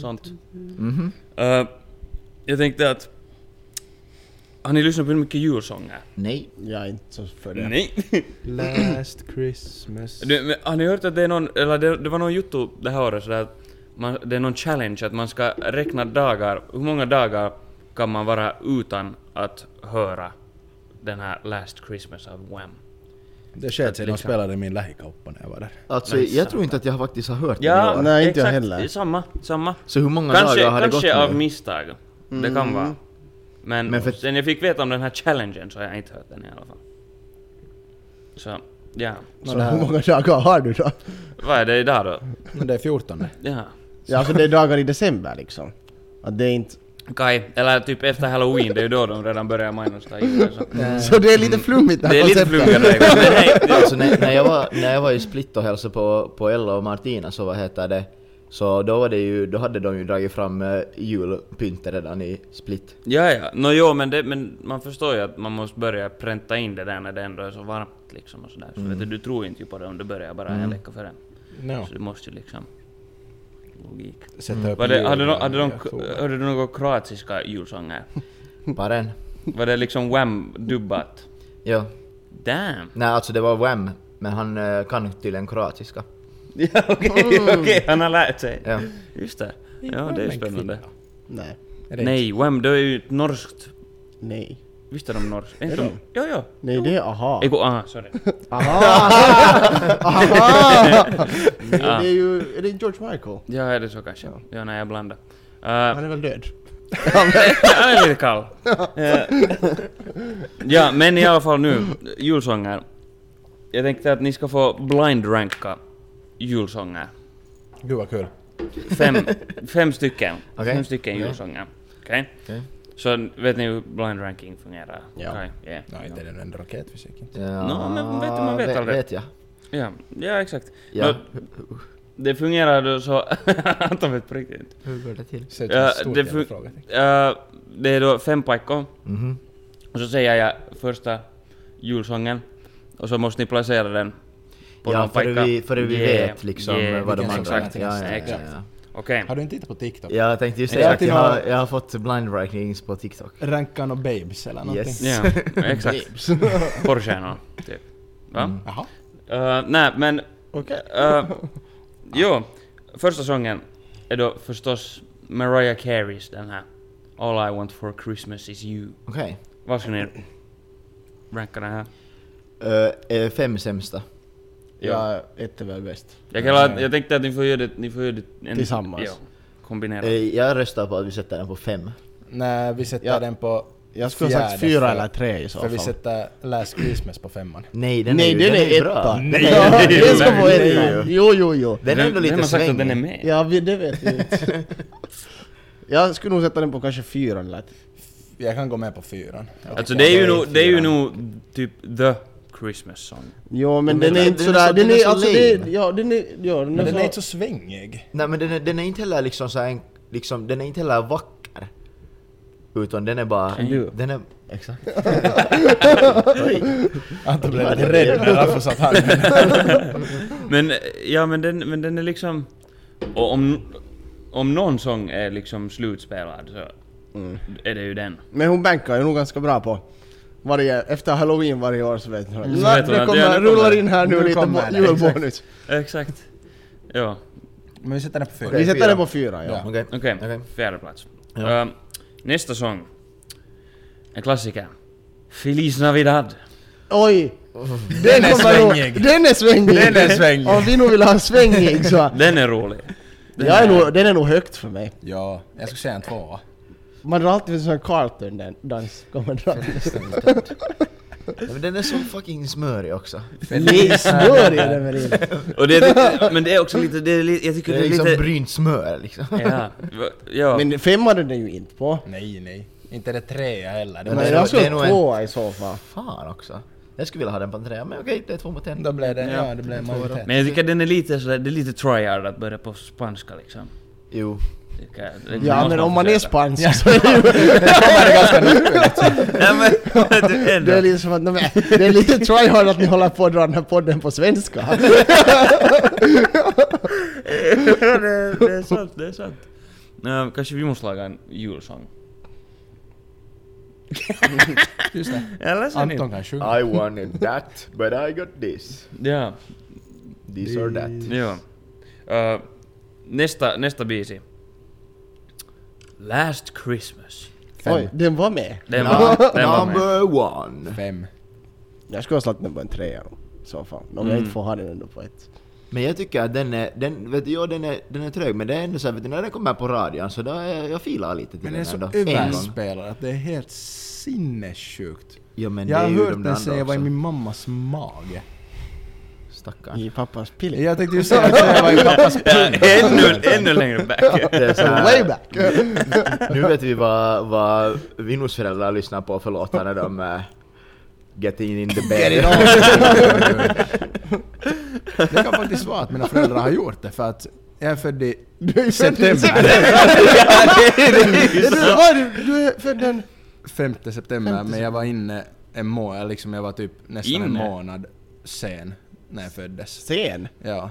S4: Sånt.
S5: Mm-hmm.
S3: Mhm.
S4: Eh, jag tänkte att... Har ni lyssnat på mycket julsånger?
S3: Nej.
S5: Jag är inte så för det.
S4: Nej.
S2: Last Christmas...
S4: Du, men har ni hört att det är någon, eller det, det var någon youtube det här året sådär att man, det är någon challenge att man ska räkna dagar, hur många dagar kan man vara utan att höra den här Last Christmas av Wham?
S2: Det sket sig, de
S4: Liksom.
S2: spelade i min lähikauppa när jag var där.
S3: Alltså,
S4: Nej,
S3: jag tror inte att jag faktiskt har hört den i år.
S5: nej, inte jag heller.
S4: Samma, samma.
S3: Så hur många
S4: Kanske,
S3: dagar har det gått
S4: kanske av
S3: nu?
S4: misstag. Det kan vara. Men,
S3: Men för-
S4: sen jag fick veta om den här challengen så har jag inte hört den i alla fall. Så, ja.
S5: Så hur många dagar har du då?
S4: Vad är det idag då?
S2: Men det är 14.
S4: Ja.
S5: Ja, alltså det är dagar i december liksom. Att det är inte...
S4: Kai, eller typ efter halloween, det är ju då de redan börjar mainosta julen. så.
S5: Så det är lite flummigt det
S4: Det är
S5: här
S4: lite
S5: konceptet.
S4: flugande regler. men hej, det-
S3: Alltså när, när, jag var, när jag var i Split och hälsade på, på Ella och Martina så vad heter det? Så då, var det ju, då hade de ju dragit fram eh, julpyntet redan i Split.
S4: Ja, ja. Nå, jo, men, det, men man förstår ju att man måste börja pränta in det där när det ändå är så varmt liksom och sådär. Så vet du, du tror ju inte på det om du börjar bara en vecka före.
S2: No.
S4: Så du måste ju liksom... Logik.
S2: Sätta upp
S4: Var det, hade, de,
S2: julgranen
S4: hade,
S2: i
S4: de,
S2: oktober.
S4: hörde du några kroatiska julsånger?
S3: Paren.
S4: Var det liksom Wham dubbat?
S3: Ja.
S4: Damn!
S3: Nej alltså det var Wham, men han eh, kan tydligen kroatiska.
S4: Ja, okej, okej, Mm. han har lärt sig.
S3: Ja.
S4: Just det. Ja, det är
S2: Men
S4: spännande.
S2: kvinna.
S5: Nej.
S2: Är det
S4: Nej, Wham, det är ju ett norskt.
S5: Nej.
S4: Visst är de norskt? Är de? Ja, ja.
S5: Nej, det är aha.
S4: Ego, ah, sorry.
S5: Det är ju... Är det George Michael?
S4: Ja, är det så kanske? Ja, när jag blandar. Eh,
S5: Han är väl död?
S4: Han är lite kall. Eh, ja, men i alla fall nu, julsånger. Jag tänkte att ni ska få blind-ranka julsånger.
S2: inte? Gud vad kul.
S4: Fem, fem stycken.
S3: Okej.
S4: Fem stycken julsånger. Okej?
S3: Okej.
S4: Så vet ni hur blind-ranking fungerar?
S5: Ja.
S4: Okej, yeah.
S2: Nej, inte den en raketfysik inte.
S3: Ja,
S4: Nå, men vet du, man vet
S3: ve-
S4: aldrig.
S3: Vet jag.
S4: ja. ja, exakt.
S3: Ja.
S4: Nå, det fungerar då så... Anton vet på riktigt inte.
S3: Hur går det till?
S2: Ser ut som
S4: Ja,
S2: ett stort
S4: det
S2: jävla
S4: fun-
S2: frågetecken.
S4: Eh, det är då fem pojkar.
S3: Mhm.
S4: Och så säger jag första julsången. Och så måste ni placera den på
S3: Ja,
S4: någon
S3: för
S4: pojka.
S3: vi, för vi
S4: Yeah,
S3: vet liksom
S4: yeah,
S3: vad de
S4: vilken
S3: andra
S4: som-
S2: exakt,
S4: Exakt,
S3: ja, ja, ja,
S4: exakt.
S3: ja.
S4: Okej.
S2: Har du inte tittat på TikTok?
S3: Jag tänkte just säga
S2: Jag
S3: att jag
S2: till
S3: har,
S2: några-
S3: jag har fått blind rankings på TikTok.
S2: Rankan och Babes eller någonting?
S3: Yes.
S4: Ja, exakt. Porrstjärnor, typ. Va?
S3: Mm.
S2: Jaha.
S4: Eh, nej, men...
S5: Okej.
S4: eh, jo, första sången är då förstås Mariah Careys den här. All I want for Christmas is you.
S3: Okej.
S4: Vad ska ni ranka den här?
S3: Eh, eh, fem sämsta.
S5: Ja, ett är väl bäst.
S4: Jag, kan, la-
S3: Mm.
S4: jag tänkte att ni får göra det, ni får göra det en,
S5: Tillsammans.
S4: Ja, kombinera.
S3: Eh, jag röstar på att vi sätter den på fem.
S2: Nej, vi sätter
S5: Ja.
S2: den på...
S5: Jag skulle ha sagt
S2: fjärde
S5: fyra
S2: för-
S5: eller tre i så
S2: För
S5: fall.
S2: vi sätter Last Christmas på femman.
S3: Nej, den
S5: Nej,
S3: är ju
S5: den är
S3: ju
S5: etta.
S3: bra.
S5: Nej,
S3: den är ju
S5: den ska
S3: bra.
S5: få
S3: Den är
S5: etta.
S3: ju-
S5: Jo, jo, jo.
S3: Den är ändå
S4: Vem
S3: lite
S4: har sagt att den är
S3: svängig.
S4: med?
S5: Ja, vi- det vet vi inte. jag skulle nog sätta den på kanske fyran eller ett.
S2: Jag kan gå med på fyran. Jag
S4: Alltså
S2: tycker
S4: det är ju
S2: att
S4: nog, det är ju
S2: fyran.
S4: nog typ the Christmas song.
S5: Jo, men
S3: Men
S5: den är
S3: den-
S5: inte
S3: den är
S5: sådär...
S3: så-
S5: Den
S3: den är
S5: är
S3: så
S5: alltså... det-
S3: lame.
S5: Ja, den är... Ja, den
S2: Men den är
S5: är
S2: inte
S5: så...
S2: så svängig.
S3: Nej men den är, den är inte heller liksom så här, en- liksom, den är inte heller vacker. Utan den är bara...
S5: du?
S3: Den är... Exakt.
S2: Anton blev lite rädd när Raffo satt här.
S4: Men eh, ja, men den, men den är liksom... Och om, om någon sång är liksom slutspelad så
S3: Mm.
S4: är det ju den.
S5: Men hon bankar ju nog ganska bra på. Varje, efter halloween varje år Mm. så vet hon.
S4: vet
S5: Nej,
S4: hon
S5: Det
S4: att det-
S5: kommer,
S4: nu
S5: rullar
S4: kommer-
S5: in här nu,
S2: nu
S5: lite
S2: kommer
S5: bo-
S2: det,
S5: julbonus.
S4: Exakt. Ja,
S2: Men vi sätter den på
S5: Vi
S2: fyran.
S5: sätter den på fyra, ja.
S3: Okej.
S4: okej.
S3: Okej.
S4: Fjärde plats.
S3: Ja.
S4: Ehm, nästa sång. En klassiker. Feliz Navidad.
S5: Oj!
S2: Den är
S5: kommer nog-
S2: svängig.
S5: Den är svängig!
S2: Den är svängig.
S5: Om vi nog vill ha svängig så...
S4: Den är rolig. Den
S5: Jag är nog, den är nog högt för mig.
S2: Ja, jag skulle säga en tvåa.
S5: Man drar alltid en sån här Carlton-dans. Kommer dra.
S3: Nej, men den är så fucking smörig också.
S5: Nej, smör i den väl inte?
S4: Och det är lite, men det är också lite, det är lite, jag tycker
S3: Den
S4: det
S3: är
S4: är
S3: liksom
S4: lite...
S3: brynt smör liksom.
S4: Ja, va- ja.
S5: Men femman är den ju inte på.
S2: Nej, nej. Inte är det trea heller. Det
S3: Men
S5: Men
S2: var-
S3: det är nog-
S5: jag skulle
S3: det är nog
S5: ha
S3: en-
S5: tvåa i så fall.
S3: Fan också. Jag skulle vilja ha den på en trea, men okej, det är två mot en.
S2: Då blev det,
S4: Ja.
S2: ja, det blev majoritet.
S4: Men jag tycker den är lite sådär, det är lite tryhard att börja på spanska liksom.
S3: Jo.
S4: Det kan- det
S5: Ja
S4: måste
S5: men
S4: man
S5: om man är
S4: försöka.
S5: spansk så är det ju...
S4: Nej men, du ändå.
S5: Det är liksom att, nej, men, det är lite tryhard att ni håller på att dra den här podden på svenska.
S4: Ja, det, det är sant, det är sant. Ehm, kanske vi måste laga en julsång?
S2: Just det.
S4: Eller så
S2: Anton kan sjunga.
S3: I wanted that, but I got this.
S4: Ja,
S3: This or that.
S4: ja. Ehm, nästa, nästa biisi. Last Christmas.
S2: Fem.
S5: Oj, den var med.
S4: Den var, den var med.
S3: Number one.
S2: Fem.
S5: Jag skulle ha slagit den på en trea då, i så fall. Om jag inte får ha den ändå på ett.
S3: Men jag tycker att den är, den, vet du, ja, den är, den är trög, men det är ändå så här, vet du, när den kommer på radion så då är, jag filar lite till
S2: Men den är
S3: den
S2: så
S3: ändå.
S2: överspelad att det är helt sinnessjukt.
S3: Ja men
S2: Jag
S3: det
S2: har
S3: är ju de
S2: hört
S3: där
S2: den
S3: andra
S2: säga
S3: också.
S2: vad i min mammas mage.
S3: Stackarn.
S5: I pappas pille.
S2: Jag tänkte ju säga att det var i pappas
S4: Ja, ännu, ännu längre back.
S3: Det är så här-
S5: Way back!
S3: Nu vet vi vad, vad Vinos föräldrar lyssnar på för låtar när de uh, Getting in the bed.
S2: Det kan faktiskt vara att mina föräldrar har gjort det för att jag är född i september.
S5: Är du, vad är du, du är född den...
S2: 5 september, men jag var inne en månad, liksom jag var typ nästan en
S4: Inne?
S2: månad sen när jag föddes.
S5: Sen?
S2: Ja,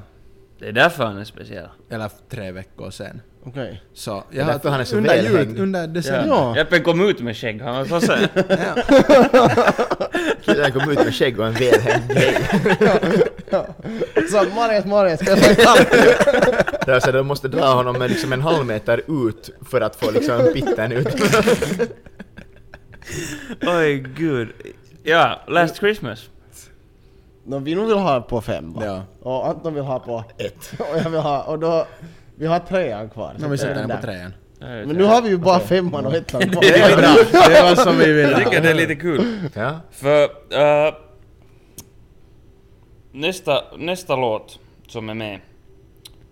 S4: Det är därför han är speciell.
S2: eller tre veckor sen.
S5: Okej.
S2: Så
S3: är
S2: jag
S3: därför han är så
S2: under jul-
S3: välhängd.
S2: Under december.
S5: Ja.
S4: Jeppe kom ut med skägg, han var så såhär.
S3: Killen kom ut med skägg och en välhängd grej.
S5: Så Marius, Marius, ska jag ta en kall?
S3: Det är så här, Alltså, De måste dra honom med liksom en halv meter ut för att få liksom pitten ut.
S4: Oj gud. Ja, Last Christmas.
S5: Nå, vi nog vill ha på fem va?
S2: Ja.
S5: Och Anton vill ha på...
S3: Ett.
S5: Och jag vill ha... Och då... Vi har trean kvar.
S2: Men vi sätter den på
S5: Där.
S2: trean.
S5: Men nu har vi ju bara femman och ettan kvar.
S4: Det är bra.
S2: Det var som vi
S4: Jag
S2: ville.
S4: tycker det är lite kul.
S3: Ja.
S4: För eh, nästa, nästa låt som är med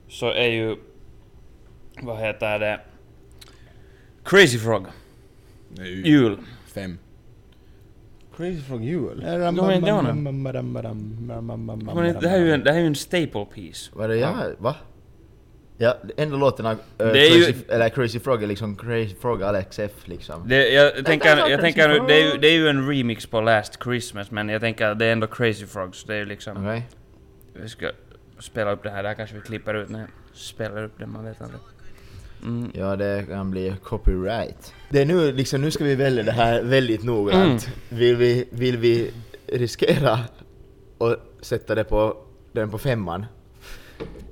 S4: så är ju, vad heter det, Crazy Frog, jul.
S2: Fem.
S5: Crazy från jul.
S4: Kommer inte ihåg den? Kommer ni- Det här är ju en, det här är ju en staple piece.
S3: Var det jag? Va? Ja, enda låten av eh,
S4: är ju-
S3: Crazy, eller Crazy Frog är liksom Crazy Frog Alex F liksom.
S4: Det, jag tänker,
S3: Crazy
S4: jag tänker
S3: Frog.
S4: det, är ju, det är ju en remix på Last Christmas men jag tänker att det är ändå Crazy Frog så det är ju liksom...
S3: Okej.
S4: Vi ska spela upp det här, det här kanske vi klipper ut när jag spelar upp det, man vet aldrig. Mm.
S3: Ja, det kan bli copyright. Det är nu, liksom, nu ska vi välja det här väldigt noggrant.
S5: Mm.
S3: Vill, vi, vill vi riskera att sätta det på, den på femman?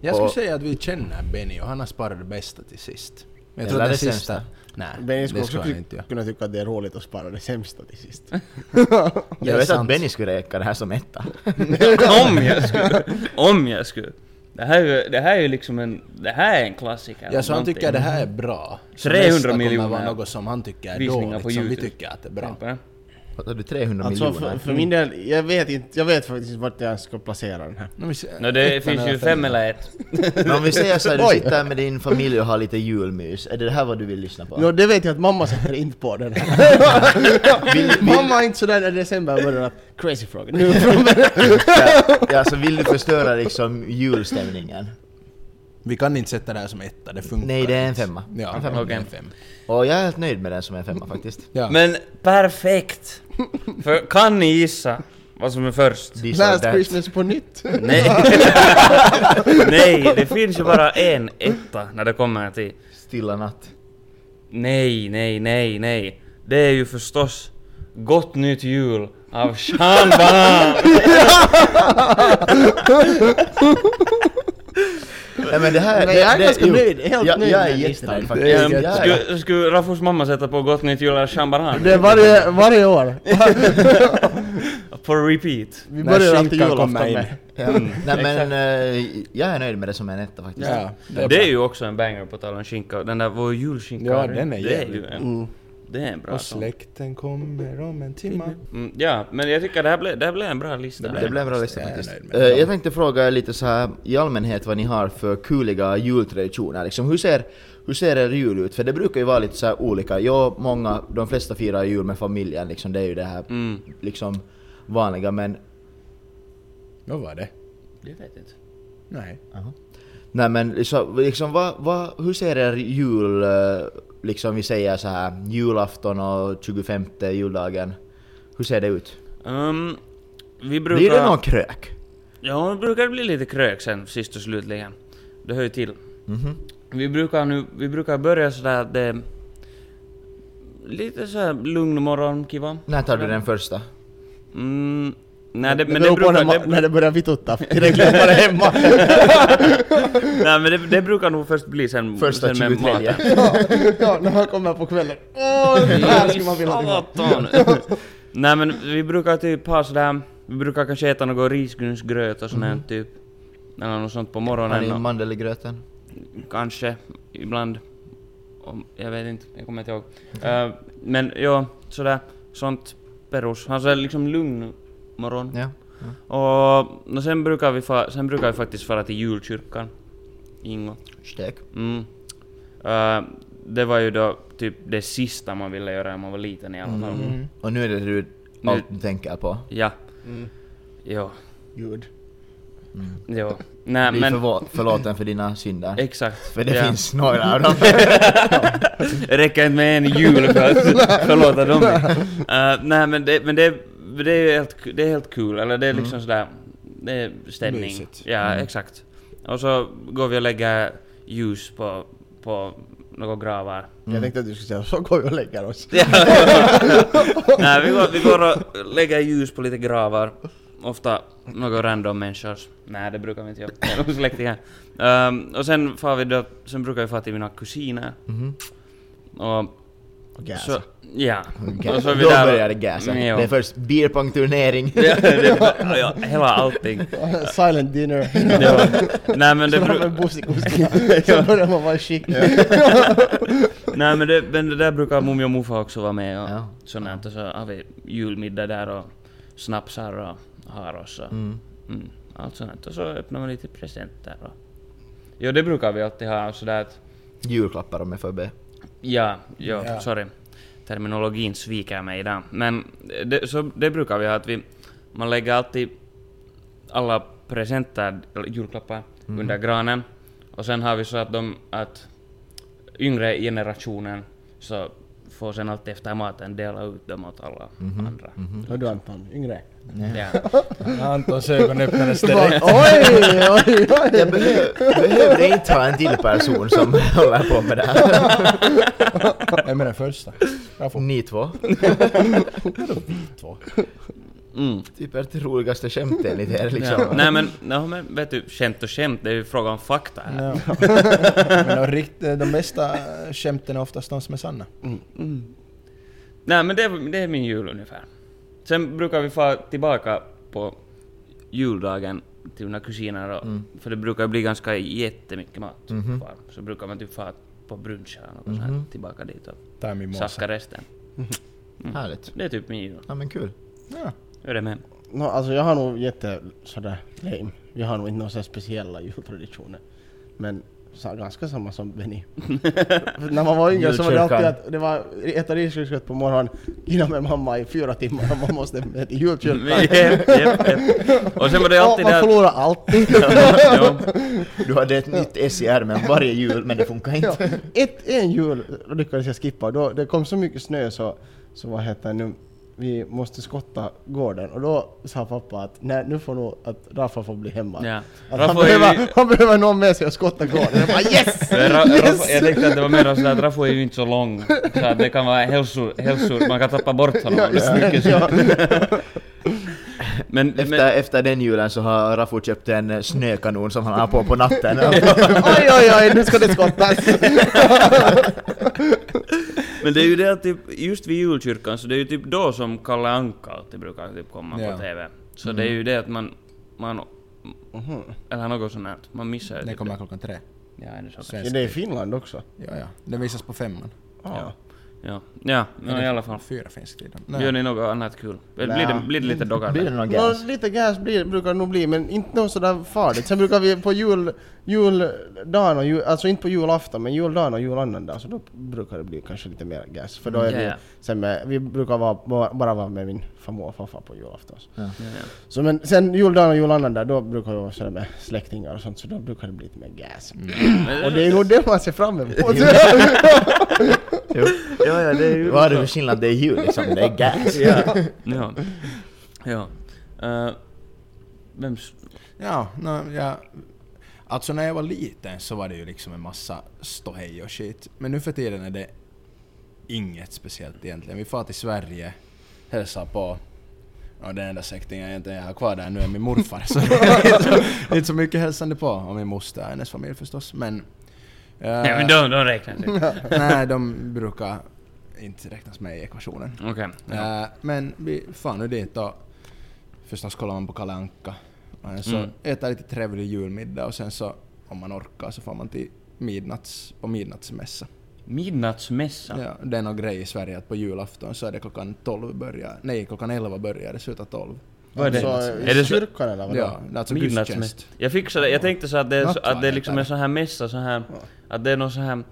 S2: Jag skulle
S3: Och-
S2: säga att vi känner Benny och han har sparat det bästa till sist. Men jag tror
S3: Eller
S2: att den
S3: det
S2: sista...
S3: sämsta.
S2: Nej,
S5: Benny skulle
S2: det
S5: också
S2: skulle han inte
S5: ty-
S2: göra.
S5: kunna tycka att det är roligt att spara det sämsta till sist.
S2: Det
S3: Jag
S2: är
S3: vet att
S2: sant.
S3: Benny skulle räcka det här som etta.
S4: om jag skulle! Om jag skulle! Det här, är ju- det här är ju liksom en... Det här är en klassiker.
S2: Ja, så han tycker att det
S4: någonting.
S2: här är bra. Så
S4: 300
S2: nästa
S4: miljoner
S2: kommer vara något som han tycker är
S4: visningar
S2: dåligt,
S4: på
S2: som vi
S4: YouTube.
S2: tycker att är bra.
S4: Tänk på det.
S3: Vad tar du, 300
S5: Alltså
S3: miljoner?
S5: för, för min del, jag vet, inte, jag vet faktiskt vart jag ska placera den här.
S2: Nu vi ser-
S4: Nå det
S2: ettan
S4: finns
S2: eller
S4: ju
S2: femman.
S4: fem eller ett.
S3: Men om vi säger såhär, du
S5: Oj.
S3: sitter här med din familj och har lite julmys. Är det det här vad du vill lyssna på?
S5: Nå det vet jag att mamma sätter inte på den här. Mamma är inte sådär när december börjar att crazy fråga. Nu
S3: Ja, så vill du förstöra liksom julstämningen?
S2: Vi kan inte sätta det här som etta, det funkar
S3: Nej, det är en
S2: inte.
S3: femma.
S2: Ja,
S3: En femma.
S2: det är en
S4: Okej.
S2: femma.
S3: Och jag är helt nöjd med den som en femma faktiskt.
S2: Ja.
S4: Men perfekt! För kan ni gissa vad som är först?
S3: These are
S5: Last
S3: that.
S5: Christmas på nytt.
S4: Nej. Nej, det finns ju bara en etta när det kommer till...
S3: Stilla natt.
S4: Nej, nej, nej, nej. Det är ju förstås Gott Nytt Jul av Sean Banan!
S3: Nej men det här...
S5: Men
S3: det,
S5: jag är
S3: det,
S5: ganska
S3: jo.
S5: nöjd, helt
S3: jag,
S5: nöjd
S3: Jag
S5: med
S3: är
S5: listan.
S3: jättenöjd
S2: Det
S3: faktiskt.
S2: är
S3: Jag är-
S4: Ehm, Skulle, skulle Rafus mamma sätta på Gott Nytt Jul av Sean Banan?
S5: Det är varje, varje år.
S4: På repeat.
S2: När
S5: Vi börjar alltid
S2: skinkan
S5: julafton
S2: kommer in.
S5: med.
S3: Ja, Nej
S2: Mm.
S3: men eh, jag är nöjd med det som en etta faktiskt.
S2: Ja, det är
S4: Det är
S2: bra.
S4: ju också en banger på tal om skinka. Den där Vår julskinka.
S2: Ja, den är
S4: det är ju
S2: jävligt-
S4: en,
S5: Mm.
S4: Det är en bra
S2: Och
S4: sång.
S2: släkten kommer om en timma.
S4: Mm, ja, men jag tycker det här blev, det här blev en bra lista.
S3: Det blev en bra lista
S2: Jag är
S3: faktiskt.
S2: nöjd med
S3: Eh,
S2: det.
S3: Jag tänkte fråga er lite så här i allmänhet vad ni har för kuliga jultraditioner. Liksom, hur, ser, hur ser er jul ut? För det brukar ju vara lite så här olika. Jag många, de flesta firar jul med familjen. Liksom, det är ju det här
S4: Mm.
S3: liksom, vanliga. Men,
S2: Vad var det?
S4: Jag vet inte.
S2: Nej.
S3: nej, men liksom, liksom, vad, vad, hur ser er jul, eh, liksom vi säger så här julafton och 25 juldagen. Hur ser det ut?
S4: Ehm, vi brukar...
S3: Blir det någon krök?
S4: Ja, det brukar bli lite krök sen sist och slutligen. Det hör ju till.
S3: Mhm.
S4: Vi brukar nu, vi brukar börja sådär att det... Lite såhär lugn morgon, kiva.
S3: När tar du den första?
S4: Mm, nej, det,
S5: Det
S4: men det
S5: beror på när,
S4: brukar...
S5: ma-
S4: Det,
S5: när det börjar vitutta. Tillräckligt bara hemma.
S4: nej, men det, det brukar nog först bli sen...
S3: Första
S4: sen med
S3: 23.
S4: maten.
S5: Ja, när han kommer på kvällen. Åh, det här skulle man vilja ha.
S4: Satan! Nej men vi brukar typ ha sådär, vi brukar kanske äta något risgrynsgröt och sånt här
S5: Mm.
S4: typ. Eller något sånt på
S3: Har ni
S4: morgonen. och
S3: mandel i gröten?
S4: Kanske, ibland. Om, jag vet inte, jag kommer inte ihåg. Eh, men ja, sådär, sånt perus. Han sådär liksom lugn morgon.
S3: Ja.
S4: Och, och sen, brukar vi fa- sen brukar vi faktiskt fara till julkyrkan. Ingo.
S3: Stek.
S4: Mm. Eh, det var ju då typ det sista man ville göra när man var liten i alla fall.
S5: Mm.
S3: Och nu är det du, allt du tänker på.
S4: Ja.
S3: Mm.
S4: Jo.
S5: Gud.
S4: Jo. Mm. Nej
S3: Bli
S4: men...
S3: förvå- förlåten för dina synder.
S4: Exakt.
S3: För det
S4: ja.
S3: finns några av dem.
S4: Det räcker inte med en jul för att förlåta dem. Uh, nej men det, men det, det är helt, ku- det är helt kul, eller det är
S3: Mm.
S4: liksom sådär... Det är stämning.
S2: Mysigt.
S4: Ja, exakt. Och så går vi och lägger ljus på, på några gravar.
S5: Jag tänkte att du skulle säga så går vi och lägger oss.
S4: Ja. nej, vi går, vi går och lägger ljus på lite gravar. Ofta några random människors. Nej, det brukar vi inte göra. Det är nog släktingar. Ehm, och sen far vi då, sen brukar vi fara till mina kusiner.
S3: Mhm.
S4: Och
S5: Gas.
S4: så, ja.
S3: Okej,
S4: Och så är vi
S3: Då
S4: där och-
S3: börjar det gasa.
S4: Mm, jo.
S3: Det är först beerpong-turnering.
S4: Ja, det- ja, hela allting.
S5: Silent dinner.
S4: Det var- Nej men det,
S5: Fram
S4: bru-
S5: med bussikosten. Så börjar man vara chic.
S4: nej, men det, men det där brukar mummi och morfar också vara med och
S3: Ja.
S4: sånt där. Och så har vi julmiddag där och snapsar och har oss och
S3: Mm.
S4: Mm, allt sånt. här. Och så öppnar man lite presenter och... Jo, det brukar vi alltid ha sådär att...
S3: Julklappar om jag får be.
S4: Ja, jo,
S2: Ja.
S4: sorry. Terminologin sviker mig idag. Men det, så det brukar vi ha att vi... Man lägger alltid alla presenter, eller julklappar, under granen. Och sen har vi så att de... Att yngre generationen så får sen alltid efter maten dela ut dem åt alla andra.
S5: Hör du Anton, yngre?
S4: Ja.
S2: Antons ögon öppnades direkt.
S5: Oj, oj,
S3: Jag
S5: oj!
S3: behöver, behöver inte ha en till person som håller på med det här.
S2: Vem är den första? Raffo.
S3: Ni två.
S2: Två.
S4: Mm.
S3: Typ är det roligaste skämtet enligt er
S4: Ja.
S3: liksom.
S4: Nej men, no, men vet du, skämt och skämt, det är ju fråga om fakta här.
S2: Ja. Men de, rikt, de bästa skämten är oftast de som är sanna.
S4: Nej men det, det är min jul ungefär. Sen brukar vi få tillbaka på juldagen till mina kusiner och, för det brukar bli ganska jättemycket mat kvar. Så brukar man typ få på brunch eller något sånt här, tillbaka dit och
S2: Där är min måsa.
S4: sacka resten.
S3: Härligt.
S4: Det är typ min jul.
S3: Ja men kul.
S2: Ja.
S4: Hur är det med?
S5: No, alltså jag har nog jätte sådär lame. Vi har nog inte några så här speciella jultraditioner. Men så, ganska samma som Benny. För när man var yngre så var det alltid
S3: Julkyrkan.
S5: att det var äta risgrynsgröt på morgonen, grina med mamma i fyra timmar och man måste med till julkyrkan.
S4: Jep, jep, jep. Och sen var det
S5: Ja,
S4: alltid
S5: man
S4: det att...
S5: förlorar alltid.
S4: Ja,
S3: Du hade ett nytt S i ärmen varje jul men det funkar
S5: Ja,
S3: inte.
S5: ett, en jul lyckades jag skippa. Då, det kom så mycket snö så, så vad heter det nu, vi måste skotta gården och då sa pappa att nej, nu får nog att Rafa får bli hemma.
S4: Ja.
S5: Att
S4: Rafa
S5: han,
S4: är ju-
S5: behöver, han behöver någon med sig och skotta gården. Jag bara yes!
S4: Men Ra- Raffo- jag
S5: yes!
S4: tänkte att det var mer sådär att Raffo är ju inte så lång, så att det kan vara hälsor, hälsor man kan tappa bort honom.
S5: Ja,
S4: det är mycket
S5: ja.
S4: så. Men, men,
S3: Efter, efter den julen så har Raffo köpt en eh, snökanon som han har på på natten.
S5: Oj oj oj, nu ska det skottas!
S4: men det är ju det att typ, just vid julkyrkan så det är ju typ då som Kalle Anka alltid brukar typ komma
S2: Ja.
S4: på TV. Så det är ju det att man, man mm-hmm. eller något sånt här, man missar ju
S2: Den
S4: typ.
S2: kommer klockan tre.
S4: Ja, är det så?
S2: Sen-
S5: Ja, det är i Finland också.
S2: Ja, ja. Den visas på femman.
S5: Ah.
S4: Ja, ja men i alla fall.
S2: Fyra finsk tid.
S4: Gör ni något annat kul? Blir det, blir det lite doggar?
S3: Blir det
S4: där?
S3: någon
S5: Nå,
S3: gräns?
S5: lite gas blir, brukar det nog bli, men inte något sådär farligt. Sen brukar vi på jul, juldagen och jul, alltså inte på julafton, men juldagen och julannandag, så då brukar det bli kanske lite mer gas. För då är
S4: Mm, Ja, ja.
S5: vi, sen med, vi brukar vara, bara- bara vara med min farmor och farfar på julafton. Så.
S4: Ja, ja.
S5: Så men sen juldagen och julannandag, då brukar vi vara sådär med släktingar och sånt, så då brukar det bli lite mer gas. Och det är nog det man ser fram emot!
S3: Jo. Ja, ja, det är ju... Vad är det för skillnad det är jul liksom? Det är gas.
S4: Ja. ja. Uh, vems...
S2: Ja, nå, ja. Alltså när jag var liten så var det ju liksom en massa ståhej och shit. Men nu för tiden är det inget speciellt egentligen. Vi far till Sverige, hälsar på. Ja, den enda släktingen jag egentligen har kvar där nu är min morfar. Så det är inte så, inte så mycket hälsande på. Och min moster och hennes familj förstås. Men... eh,
S4: Nej men de, de räknas inte.
S2: nej, de brukar inte räknas med i ekvationen.
S4: Okej. Ja.
S2: Eh, men vi fan nu dit och förstås kollar man på Kalle Anka. Eh, Så
S4: Mm.
S2: äter lite trevlig julmiddag och sen så om man orkar så får man till midnatts, på midnattsmässa.
S4: Midnattsmässan.
S2: Ja, det är någon grej i Sverige att på julafton så är det klockan 12 börjar, nej klockan 11 börjar det slutar 12.
S4: Vad är det?
S5: Så,
S2: Alltså,
S4: Är det
S5: Alltså, i
S4: så-
S5: kyrkan eller vadå?
S2: Ja, alltså
S4: Midnattsmässa.
S2: gudstjänst.
S4: Jag fixade, jag tänkte så att det är, så,
S2: Nattvarden
S4: att det är liksom
S2: heter
S4: en sån här mässa, så här, att det är någon sån här